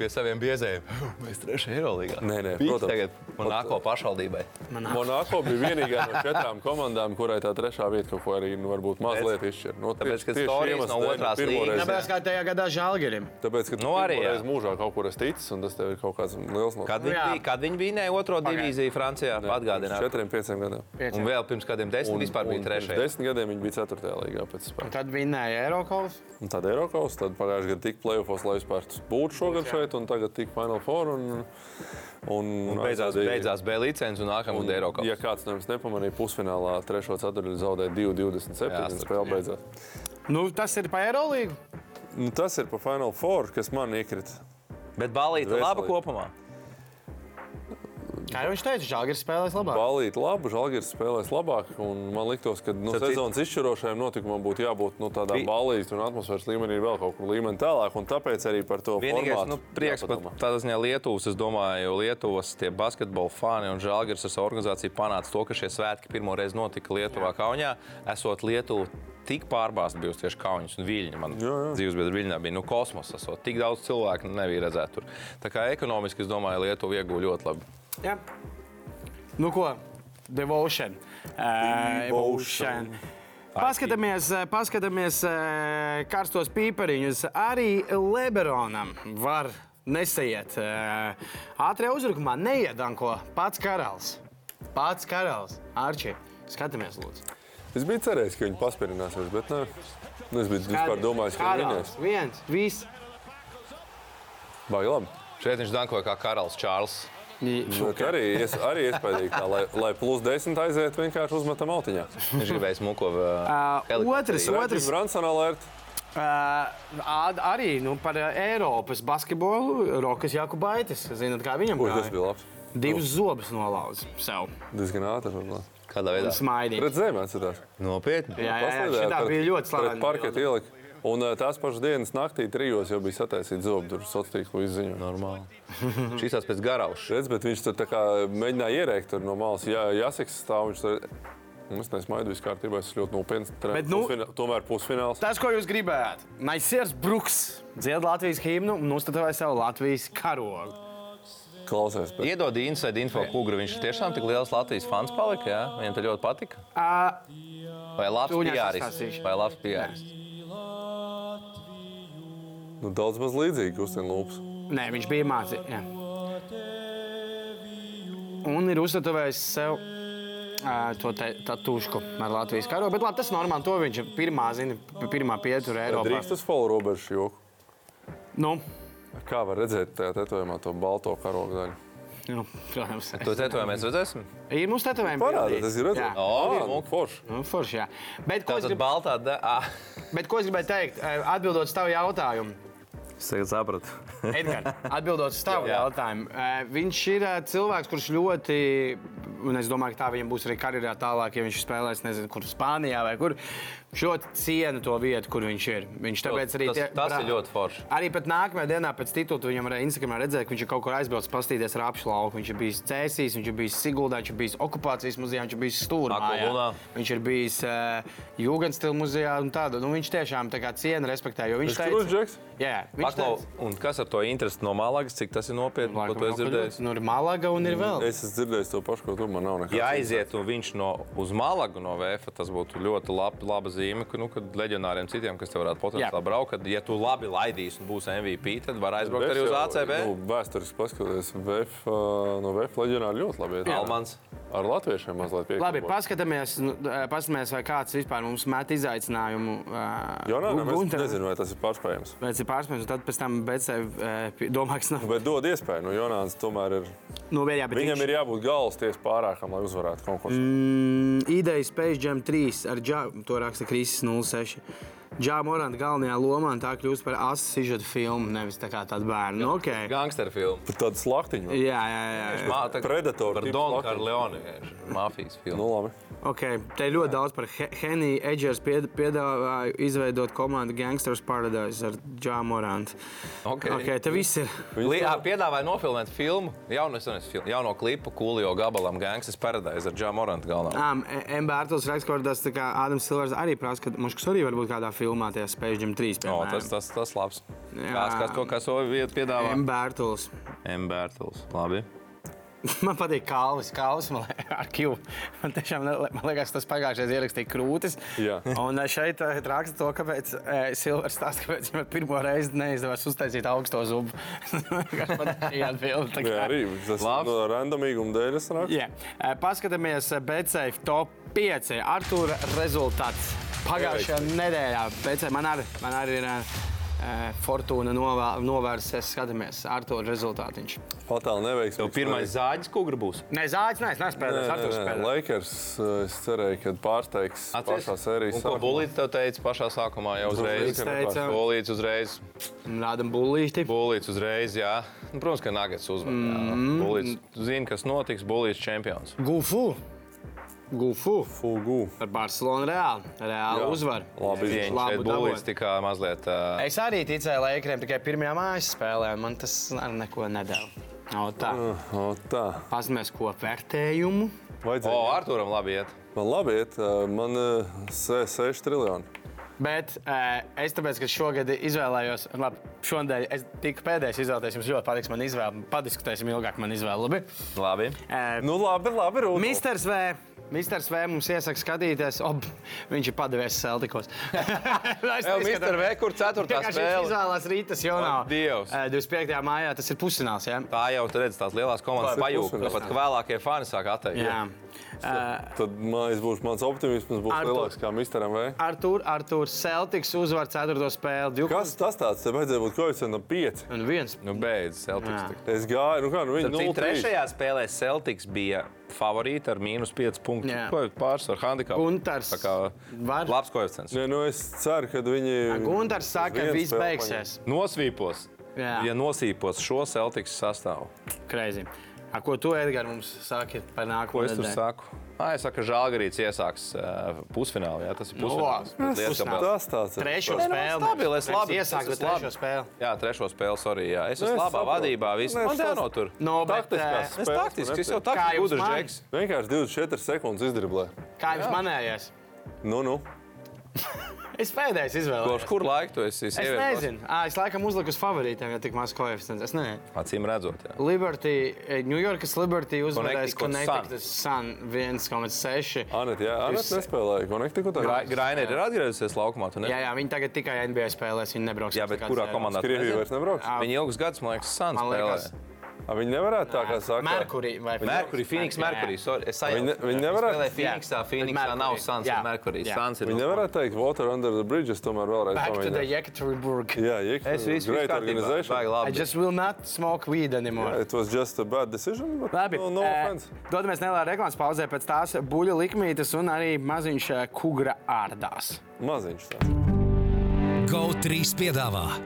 pie saviem biezējiem mēs trešajā Eirolandā.
Nē, nē, protams.
Tagad Monako pašvaldībai.
Nu, Monako bija vienīgā no četrām komandām, kurai tā trešā vieta kaut ko arī nu, varbūt mazliet Nu, izšķir. No,
Tāpēc, ka stories no otrās līgas.
Tāpēc kā tajā gadā Žalgirim.
Tāpēc, ka tu
Nu, arī, jā.
pirmoreiz mūžā kaut kur esi ticis, un tas tev ir kaut kāds liels no
Kad, viņi
Jā.
bija- kad viņi bija ne, otro divīziju Francijā, atgādināja.
Četriem, pieciem gadiem.
Un vēl pirms kādiem desmit vispār bija
pirms
trešajā.
Desmit gadiem viņi bija ceturtajā līgā pēc spēles.
Tad vinnēja Eiropas.
Un Tad Eiropas, tad pagājušajā gadā tika plēsofos, lai vispār būtu šogad šeit, un tagad tika Final Four. Un, un, un
Beidzās,
aizvadīja-
beidzās B licence un nākamā gada Eiropā.
Nu, Ja kāds no jums nepamanīja, pusfinālā trešo ceturto zaudēja 2,27
Jā,
un
starp-
spēle beidzās.
Nu, tas ir pa Eirolandu.
Nu, tas ir pa Final Four, kas man iekrita.
Bet balīta
Dvēselī.
laba kopumā.
Kā jau viņš teica, Žalgiris spēlēs labāk.
Balīt labi, Žalgiris spēlēs labāk. un Man liekas, ka nu,
Starp citu-
sezonas izšķirošajam notikumam būtu jābūt nu, tādā
Vi-
balīt un atmosfēras līmenī vēl kaut kur līmeni tālāk. un Tāpēc arī par to
Vienīgais
formātu
nu, prieks par
jāpadomā.
tādu ziņā Lietuvas, es domāju, Lietuvas tie basketbola fani un žēlgars ar savu organizāciju panāca to, ka šie svētki pirmo reizi notika Lietuvā, Kaunijā, esot Lietuvu. Tik pārbāzta bija tieši Kaunis un Viļņa. Man
jā.
dzīves biedra Viļņā bija nu, kosmosa. Tik daudz cilvēku nebija redzēts tur. Tā kā ekonomiski, es domāju, Lietuva ieguva ļoti labi.
Jā. Nu, ko? Devotion. Ē, Devotion. Eh, Paskatāmies, eh, paskatāmies eh, karstos pīpariņus. Arī Lebronam var nesaiet. eh, Ātrajā uzbrukumā neiedanko pats karalis. Pats karalis. Arčī, skatāmies, lūdzu.
Es biju cerējis, ka viņi paspērinās, bet nē. Nu, Es biju vispār domājis, ka viņi
Karalis,
minēs.
viens, viss.
Baigi labi.
Šeit viņš dankoja kā karalis Čārls.
Bet arī es arī iespējīgi tā, lai, lai plus 10 aizietu vienkārši uzmetam autiņā.
Viņš gribēja smuko. uh,
Ā, Uh, otrs,
Otrs
otrs.
Branson alert.
Ā, Eh, ā- arī nu, par ā, Eiropas basketbolu Rokas Jakubaitis. Zināt, kā viņam
Ui, tas
gāja?
bija labs.
Divas zobus nolauza sev.
Diezgan ātri. varbūt.
Kādā veidā?
Smaidīt.
Pret zemē atcerās.
Nopietni.
Jā, jā, jā
Paslidēja
šitā
pret-
bija ļoti
Pret parketu
slavena.
ielika. Un ā, tās pašas dienas naktī trijos jau bija sataisīts zobu durvis sociālo tīklu izziņu.
Normāli. Šīs tās pēc garauša.
Redz, bet viņš tur tā kā mēģināja ierēkt tur no malas. Jā, jāsaka, stāv viņš tur. Nu, Es nesmaidu, viss kārtībā, es ļoti nopietni
Bet,
strādāju.
nu-
Pusfina- Tomēr pusfināls.
Tas, ko jūs gribējāt, Naisers Bruks dzied Latvijas himnu un uzstādīja sev Latvijas karogu.
Klausies, bet
Iedod inside info kūgru. Viņš tiešām tik liels Latvijas fans palika. Jā? Viņam tas ļoti patika.
Ā,
Vai labs
Tūņā
piāris?
sastāstīšu.
Vai labs piāris?
nu, daudz maz līdzīgi Gustin Lūps.
Nē, viņš bija mācīts. Un ir uzstādījis sev. ā, To tātušu ar Latvijas karogu. Bet labi, tas ir normāli. To viņš ir pirmā, zina, pirmā pietura Eiropā.
Drīkst tas Folu Roberts joku.
Nu,
Kā var redzēt tajā tetovējumā to balto karogu daļu?
nu, protams,
To tetovējumu mēs redzēsim.
ir mūsu tetovējumi.
Parādi, tas ir redzams.
Jā,
O,
nu, forši.
nu, forši. Jā. Bet, ko es
Tātad
grib...
baltā daļa.
Bet ko es gribēju teikt? ā, Atbildot uz tavu jautājumu,
Es tagad sapratu.
Edgars, atbildot uz tavu
Jā.
jautājumu, ā, viņš ir ā, cilvēks, kurš ļoti, un es domāju, ka tā viņam būs arī karjerā tālāk, ja viņš spēlēs, nezinu, kur Spānijā vai kur. Viņš ļoti ciena to vietu, kur viņš ir. Viņš tāpēc arī
Tas, tas ir ļoti forši.
Arī pat nākamajā dienā pēc titula viņam arī Instagram redzēja, ka viņš ir kaut kur aizbraucis, paskatījies ar apšu lauku. Viņš ir bijis Cēsīs, viņš ir bijis Siguldā, viņš ir bijis okupācijas muzejā, viņš ir bijis Stūrā.
Akulūnā.
Viņš ir bijis uh, Jūgenstila muzejā un tāda. Nu, viņš tiešām tā kā ciena, respektē, jo viņš
Tas Krūts Džeks.
Jā, viņš
Paklau, un kas ar to interesi no Malagas, cik tas ir nopietni, ko tu esi dzirdējis?
Nu, ir Malaga un ir vēl.
Mm, Es esmu dzirdējis to pašu, ko tur man nav nekā.
Ja aiziet un viņš no uz Malagu no VF, tas būtu ļoti lab, laba zīme, ka, nu, kad leģionāriem citiem, kas te varētu
Jā.
potenciāli braukt, kad, ja tu labi laidīs un būs MVP, tad var aizbraukt arī uz ACB.
Nu, vēsturiski paskatās, VF, ā, no VF leģionāri ļoti labi iet.
Almans.
Ar latviešiem mazliet piekrīt.
Labi, paskatāmies, nu, eh, paskatāmies, vai kāds vispār mums met izaicinājumu. eh,
Jo nē, nē, es
Gunteram.
nezinu, vai tas ir pārspējams.
Vai tas ir pārspējams, un tad pēc tam beidzot domā, kas nav.
Bet dod iespēju, nu, Jonāns tomēr ir.
Nu, vēl jā, bet viņš-
Viņam ir jābūt galvas tiesas pārākam, lai uzvarētu konkursu. Mm.
Mm, Ideja Space Jam 3 ar Džāmu, to raksta Krīsis 06. Džāmu Oranta galvenajā lomā un tā kļūst par asu sižetu filmu, nevis tā kā tādu bērnu. Nu, Okay.
Gangster filmu.
Tāda slaktiņa. vai?
Jā, jā, jā.
Predator
Par
tips
Donu
Latvijas.
Karleoni. Mafijas
Nu,
filmu.
labi.
Okay. Te ir ļoti daudz par He- Heniju. Edžers pied- piedāvāja izveidot komandu Gangsters Paradise ar Džāmu Orantu.
Okay.
Okay, te viss ir.
Li- ā, Piedāvāja nofilmēt filmu, jauno, jauno klipu, Kulio gabalam, Gangsters Paradise ar Džāmu Orantu galvenā.
Um, Mbērtels raksta, ka tas tā kā Ādams Silvers arī prasa, ka Maškas arī var būt kādā filmā tajā Space Jam 3.
O,
piemēram.
tas, tas, tas labs.
Jā.
Kāds, kas kaut kā savu vietu piedāvā?
Mbērtels.
Embertels. Labi.
Man patīk kalvis, kalvis man liek, ar kīvu. Man tiešām ne- man liekas, tas pagājušajā ierakstīja krūtis.
Jā.
Un eh, šeit eh, raksta to, kāpēc eh, Silvers stāsta, kāpēc viņam pirmo reizi neizdevās uztaisīt augsto zubu. Vienkārši man šī atbilde tā kā-
Jā, arī tas
Labs.
no randomīguma dēļ es nāku.
Jā. Eh, Paskatāmies BCF top 5. Artūra rezultāts pagājušajā nedēļā. BCF man arī, man arī ir eh, fortūna novā- novērsies. Skatāmies Artūra rezultātiņš.
Fatāli neveiksmi.
Tev pirmais zāģis, ko gribūs?
Nē, zāģis, nē, es neesmu
Nē,
spēlējis.
nē,
Artūrs
nē,
spēlē.
Lakers, eh, es cerēju, ka pārsteigs pašā sērijas
Ko
sākumā.
Bulīts te teica pašā sākumā, jau uzreiz?
Bulīts
teica.
Bulīts uzreiz,
Rādam bullīti.
Bulīts uzreiz, jā. Nu, protams, ka Nagats uzvarēja. Mm.
Mm-hmm.
Bulīts zina, kas notiks, Bulīts čempions.
Gufu. Gufu.
Fugu.
Ar Barcelonu reāli. Reāli
Jā.
uzvaru.
Labi izlēma.
Labu
Viņš Bulīts
dabūju.
tikai mazliet. Uh,
Es arī ticēju laikiem tikai pirmajā mājas spēlē, un man tas arī neko nedēļa. No, tā.
Mm. O, tā.
Pasmēs, ko vērtējumu.
o,
Vajadzēja.
Arturam labi iet.
Man labi iet, eh, man 6 triljoni.
Bet eh, es tāpēc, ka šogad izvēlējos, labi, šodien es tiku pēdējais izvēlēties, jums ļoti patiks man izvēle. Padiskutēsim ilgāk man izvēle, labi?
Labi.
Eh,
Nu, labi, labi, Rūda.
Misters V. Misters V mums iesaka skatīties, ob, viņš ir padevies Celticos.
Tev, Mister V, kur ceturtā
Vienkārši viņš
spēle?
izvēlās rītas, jo nav.
Dievs.
25. mājā tas ir pusfināls. Ja?
Tā jau tur redz, tās lielās komandas
Labi,
pajūta.
pusfināls.
Pat vēlākie fani sāk atteikt.
Jā.
Tad man būs mans optimisms, būs
Ar to-
lielāks kā Misteram V.
Artur, Artur, Celtics uzvar 4. spēli. divu-
Kas tas tāds? Tev vajadzēja būt koeficientam 5.
Un viens.
Nu, beidz, Celtics. tik.
Es gāju, nu kā, nu viņi
Starp citu,
0-3.
Trešajā spēlē Celtics bija favorīti ar mīnus 5 punktus.
Jā.
Ko ir pārsvaru handicapu?
Guntars
Tā kā
var-
labs koeficients.
Nē, nu es ceru, ka viņi.
Gunārs saka, ka
Uz vienu
viss
spēli
beigsies.
Nosvīpos.
Jā.
Ja nosvīpos šo Celtics sastāvu,
Kreizi. A, ko tu, Edgars, mums saki par
ko
nākamo?
es tur saku? Ai, es saku, ka Žalgarīts iesāks uh, pusfinālā. Jā, tas ir pusfināls.
Nu, labi.
Bet liekas, ka
Pusfināls.
vēl-
Tas tāds ir.
Trešo
Nē, nu,
spēli.
stabili, es labi, es
Iesāku
esmu
trešo
labi.
spēli.
Jā, trešo spēli, sorry. Jā. Es
Nu,
esmu
es
labā
saprotu.
vadībā. Viss
Nu,
man
es tas-
jānotur.
No, bet,
Taktiskās
eh,
Es
Spēles man
taktiski, es jau
nepatīk.
tā kā
Kā jūs
gudrs
mani?
džeks.
Vienkārši 24 sekundes izdriblē.
eh, kā jums manējais?
Nu, nu.
Es pēdējais
Kurš
izvēlējos.
kur laiku tu esi?
Es
ievietojis?
nezinu. À, es laikam uzliku uz favorītiem, ja tik maz koeficients. Es nezinu.
Acīm redzot, jā.
Liberty, eh, New Yorkas Liberty uzvarēs
Connecticut
Connecticut Sun 1,6.
Anet, jā, Anet
Jūs-
nespēlēja Connecticutā.
Gra- Graine ir atgriezusies laukumā. tu ne?
Jā, jā, viņi tagad tikai NBA spēlēs, viņi nebrauks.
Jā,
uz
bet
kādas
kurā
sērijas.
komandā? tu nezini?
Krievija vairs nebrauc.
Ā,
Viņa ilgus gadus, man liekas, Suns
Man liekas,
spēlēja.
A, Viņi nevarētu tā kā saka.
Merkurī vai
Merkurī, Phoenix,
Jā, jā.
Merkurī. sorry, es
Viņi ne-
sajaucu.
viņi nevarētu-
Spēlē Phoenixā, Phoenixā
Bet
nav
Merkurī,
Suns,
jā.
ir Merkurī.
Jā.
Suns ir
Viņi
no-
nevarētu teikt, Water under the bridges tomēr vēlreiz
Back to the
pamēģināt.
Yekaterinburg.
Jā, Jekta.
Es visu
great organization.
I
organizēju.
just will not smoke weed anymore.
It was just a bad decision. But
Labi,
no, no
eh,
offense.
dodamies nelielā reklāmas pauzē, pēc tās buļļu likmītes un arī maziņš eh, kugra ārdās.
Maziņš. tāds.
GO3 piedāvā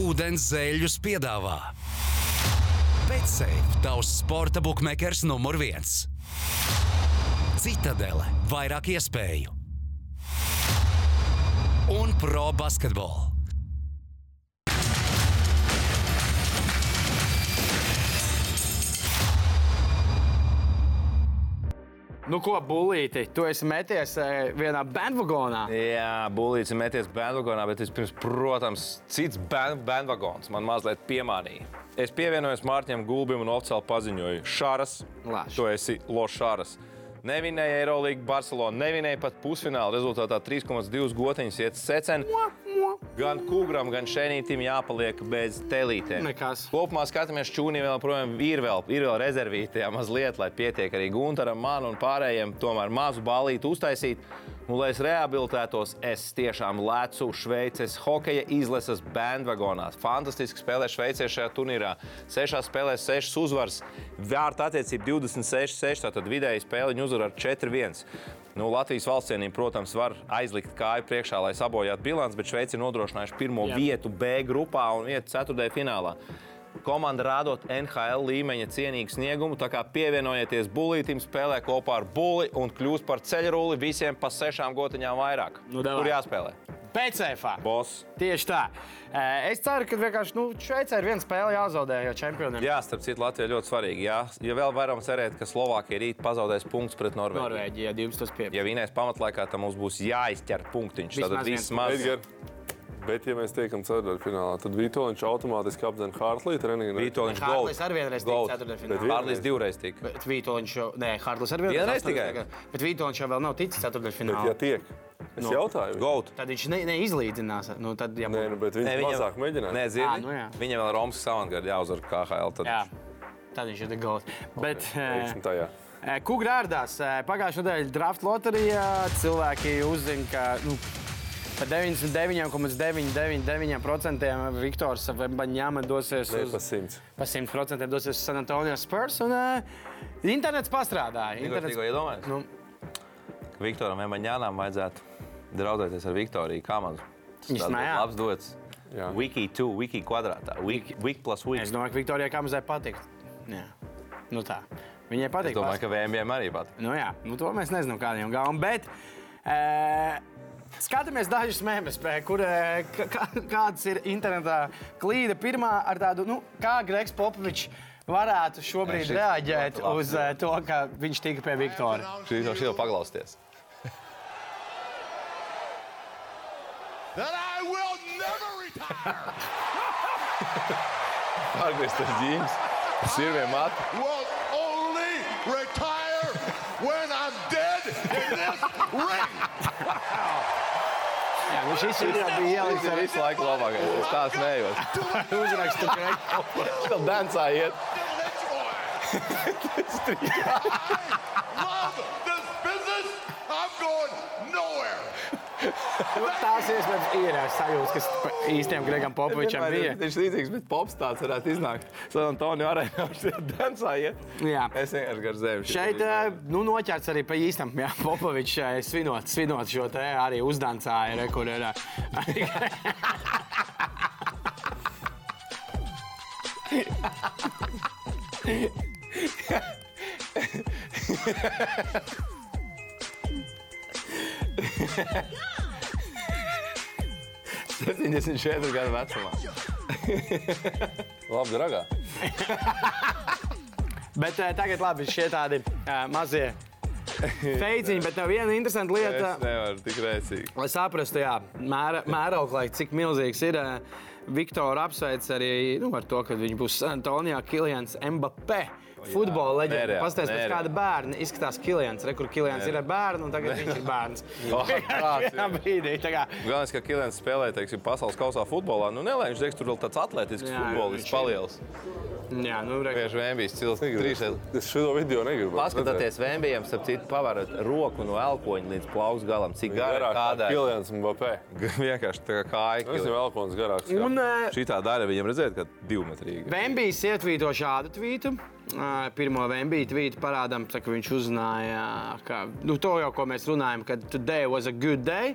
Ūdens zēļus piedāvā Betsafe, tavs sporta bukmekārs numur viens. Citadele, vairāk iespēju un pro basketbolu.
Nu, ko, buļlīti, tu esi meties eh, vienā bandvagonā.
Jā, Bulīts ir meties bandvagonā, bet vispirms, protams, cits ban- bandvagons man mazliet piemānīja. Es pievienojos Mārķiem Gulbim un oficiāli paziņoju, Šāras,
Laš.
tu esi Lošāras. Nevinēja Eirolandu, Barcelona, nevinēja pat pusfinālu. Rezultātā 3,2 gotiņas iet secen. Gan kungam, gan šenītam jāpaliek bez telītēm.
Nekas.
Kopumā skatāmies, čūnī vēl projām ir vēl, ir vēl rezervītajā mazliet, lai pietiek arī Gunteram, man un pārējiem tomēr mazu balīti uztaisīt. Un, lai es rehabilitētos, es tiešām lecu Šveices hokeja izlases bandvagonā. Fantastiski spēlē Šveicē šajā turnīrā. Sešās spēlēs, sešas uzvaras, vērta attiecība 26-6, tātad vidēji spēliņu uzvara ar 4-1. Nu, Latvijas valstsienība, protams, var aizlikt kāju priekšā, lai sabojātu bilanci, bet Šveice ir nodrošinājusi pirmo
Jā.
Jā. vietu B grupā un vietu ceturtajā finālā. Komanda rādot NHL līmeņa cienīgu sniegumu, tā kā pievienojieties bulītam, spēlē kopā ar buli un kļūst par ceļruli visiem pa sešām gotiņām vairāk.
Nu, davai.
Kur jāspēlē?
Pēcēfā.
Boss.
Tieši tā. Eh, Es ceru, ka vienkārši nu, Šveicē ir viena spēle jāzaudē jau čempionam.
Jā, starp citu, Latvija ļoti svarīga. Jā, ja vēl varam cerēt, ka Slovākija rīt pazaudēs punktus pret Norvēģiju.
Norvēģija, ja 12 pieņemt.
Ja vienais pamatlaikā, tad mums būs jāizķer punktiņš.
Vismaz
Tad
viens
viss maz.
Edgar. Bet, ja mēs tiekam ceturdaļfinālā, tad Vitoņš automātiski apdzen Hartlī treniņu.
Vitoļņš
Hārlis ar vienreiz tika
Gold.
Bet
ceturtdaļfinālā.
vienreiz.
Pārlis divreiz tik.
Bet Vītoņš jau, nē, Hārlis ar vienu.
Vienreiz tikai?
Bet Vītoņš jau vēl nav ticis
Bet, ja
ceturtdaļfinālā.
tiek, es
Nu.
jautāju. viņam.
Gold.
Tad viņš ne, neizlīdzinās. Nu, tad, ja
Nē, nu, bet viņš
viņam-
mazāk mēģināja.
Nē,
Ā,
zini,
nu jā.
viņam vēl Romas Savangarda jāuzvar KHL. Tad...
Jā, tad viņš ir gauts. Bet eh,
Teiksim tā, jā.
kungrārdās Eh, pagājušā nedēļa draft loterijā cilvēki uzzina, ka nu, par 99,999% Viktors Vembaņāma dosies
Ne
uz
pa simts.
pa 100% dosies uz San Antonio Spurs. Un, ā, internets pastrādāja.
Igor,
Internets...
tikko iedomājies?
Nu.
Ka Viktoram Emaņānam vajadzētu draudzēties ar Viktoriju Kamandu. Tas
Viņš
tāds
mājā.
labs dots.
Jā.
Wiki 2, Wiki kvadrātā. Wiki, wiki plus Wiki.
Es domāju, ka Viktorijai Kamzai patīk. Jā. Nu, tā. Viņai
Es
patīk.
domāju, ka VMBM arī pat.
Nu, jā, nu, to mēs nezinām, kādiem gājām. Bet e, skatāmies dažus mēmus, kur e, kā- kā- kādas ir internetā klīde. Pirmā ar tādu, nu, kā Gregs Popovičs varētu šobrīd
šis
reaģēt
ļoti labs,
uz eh, to, ka viņš tika pie Viktora?
Šī no šī jau paglausties.
that I will never retire.
Pārgrieztas ģīmes, sirviem matu.
will only retire when I'm dead in this ring.
Jā, nu šis ir jau bija
Tas ir
ielikts.
visu laiku labākais. Es tās nejos.
Uzrakstu, ka
Viņš vēl dancā iet.
Love this business. I'm going nowhere.
Nu, Tās iespējams ir eh, sajūta, kas pa īstiem Gregam Popovičam
Vienmēr
bija.
ir- Viņš ir līdzīgs, bet pops tāds varētu iznākt. San Antonio arēnā viņš ir dancā iet.
Jā.
Es vienkārši gar zemi.
Šeit eh, nu, noķerts arī pa īstam. Jā, Popovičs eh, svinot, svinot šo te arī uzdancāju rekurēru.
ir 74 gadu vecumā.
Labi, dragā.
Bet eh, tagad labi, šie tādi eh, mazie teiciņi, bet tev viena interesanta lieta.
Es nevaru tik rēcīgi.
Lai saprastu, jā, mēra, mēroklīgi, cik milzīgs ir. eh, Viktora apsveic arī nu, ar to, ka viņš būs Antonijā Kilians Mbappé. Futbola leģenda.
nereāli,
Pastāstiet, pēc
nereāli.
kāda bērna izskatās Kilians. Re, kur Kilians ir ar bērnu, un tagad viņš ir bērns.
Oh, tāds,
Jā,
jā.
brīdī. tā kā-
Galvenais, ka Kilens spēlē teiksim, pasaules kausā futbolā. Nu, nelēņš, teiks, tur vēl tāds atletisks
Jā,
futbolists
viņš ir.
paliels.
Jā, nu, re,
Vienkārši vēmbīs cilvēks.
Es šo video negribu.
Paskatieties, vēmbijam, ap citu pavarot roku no elkoņa līdz plaukstu galam. Cik gara ir
Garāk kā
kādai?
Kilians Mbappé.
Vienkārši tā kā kāja.
Es jau elkons garāks. kā-
un eh,
Šī tā daļa viņam redzēt, ka divmetrīga.
Vembijs ietvīto šādu tvītu. Ā, Pirmo Vembiju tvītu parādām, tā, ka viņš uzzināja, ka nu, to jau, ko mēs runājam, ka today was a good day.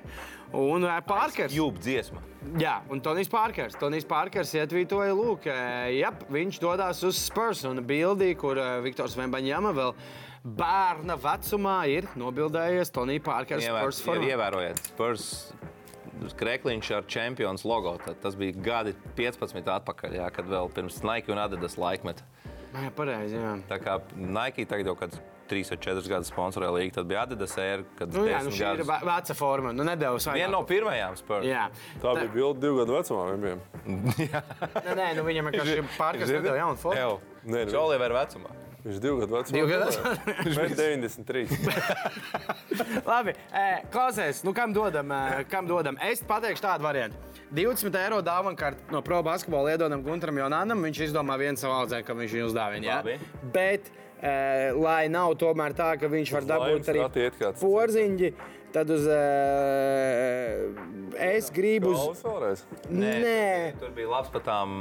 Un ā, Parkers.
Jūp dziesma.
Jā, un Tonijs Parkers. Tonijs Parkers ietvītoja, lūk, eh, jep, viņš dodas uz Spurs un bildī, kur eh, Viktors Vembaņjama vēl bērna vecumā ir nobildējies Tonija Parkers Spurs
Ievēr,
formā.
ievērojiet, Spurs Krekliņš ar Champions logo. Tad tas bija gadi 15 atpakaļ, jā, kad vēl pirms Nike un Adidas laikmeta.
Jā, pareizi, jā.
Tā kā Nike tagad jau kāds 3 vai 4 gadus sponsorē līgu, tad bija Adidas Air, kad
Nu, jā, nu
10
šī ir
gadus.
ve- veca forma. Nu, nedēļas
Viena no pirmajām Spurs.
Jā,
Tā bija bilde divu gadu vecumā. Viņiem.
nē, nē, nu viņam vienkārši Parkers nedēļa jaunu formu.
Nē,
Viņš
nu-
jau Olivera vecumā.
Viņš divu gadu vecumā.
Divu gadu
spēlēja. Viņš bija 93.
Labi, e, klausies, nu kam dodam, e, kam dodam? Es pateikšu tādu variantu. 20 eiro dāvanakārt no pro basketbola iedodam Gunteram Jonanam. Viņš izdomā vienu savu audzēju, ka viņš viņu uzdāvina.
Labi.
Ja? Bet, e, lai nav tomēr tā, ka viņš var dabūt
laimes
arī
rati iet kāds.
porziņģi, tad uz, e, es gribu uz...
Uz vēlreiz.
Nē.
Tur bija labs pat tām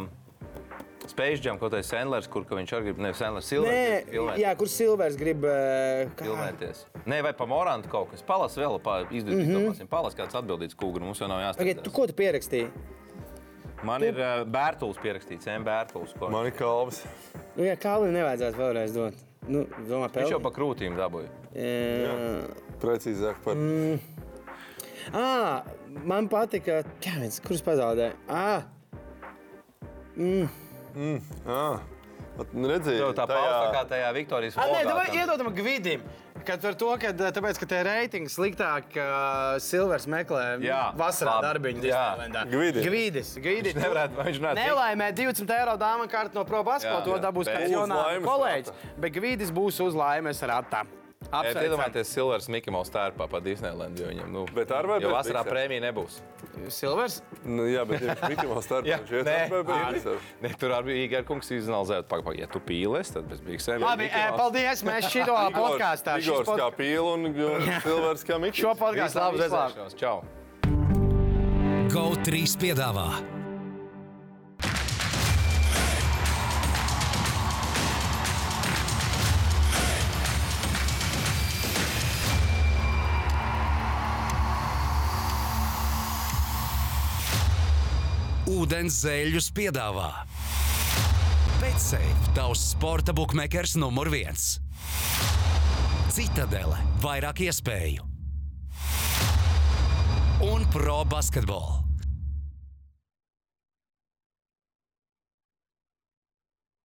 spēļģiem, kaut kāds Sandlers, kur ka viņš arī grib, nevis Sandlers,
Nē,
Silvers.
jā, kur Silvers grib. e, kā-
Filmēties. Nē, vai par Morantu kaut kas. Palas vēl, pa,
Mhm.
izdomāsim, mm -hmm. palas kāds atbildīgs kūgri, mums jau nav
Pagaid, tu
jāstāsta.
ko tu pierakstīji?
Man ir uh, bērtulis pierakstīts, M. Bērtulis. ko-
Man ir kalvis.
Nu, jā, Kalnu nevajadzētu vēlreiz dot. Nu, domā,
Viņš jau
pelni.
pa krūtīm dabūja.
E,
Precīzāk par
Ah, man patika, kā viņš kurš pazaudēja. Ah,
Ā, vat nu, Redzēju,
Tev tā pausa kā tajā Viktorijas nu.
ah nē,
vogā.
davai iedodam Gvidim. Kad ar to, ka tāpēc, ka te reitingi sliktāk, uh, Silvers meklē
Jā,
vasarā
labi.
darbiņu.
Jā.
Disneylandā.
Gvidi.
Gvidis. Gvidis.
Nevarētu, viņš nav
Nelaimē 20 eiro dāmas kārtu no Pro Basketbola.
Jā,
To
jā.
dabūs
Bet
kāds
uz
jaunāks
laimes
kolēģis. Bet Gvidis būs uz laimes ratā.
Es
Apsveicam.
iedomājos, Silvers Mikls tērpā pa Disneylandu. jo Viņam, nu,
Bet ar vai
jo
bez
vasarā
biksēm?
prēmija nebūs.
Silvers?
Nu, jā, bet viņš bija Mikls starp.
Jā,
Viņš iet
nē.
starp,
Ā,
bet viņš-
Ne, tur arī Igor kungs izanalizēja, pagaidi, ja tu pīlēs, tad bez biksēm.
Labi, eh, paldies. Mēs šito podkāstā. šis
Igors
pod-
kā pīl un un Silvers kā Mikls.
Šo podkāstu
Viss labi redzēšanos. Čau!
GO3 piedāvā Ūdens zēļus piedāvā Betsafe - tavs sporta bukmekers numur viens. Citadele - vairāk iespēju un pro basketbolu.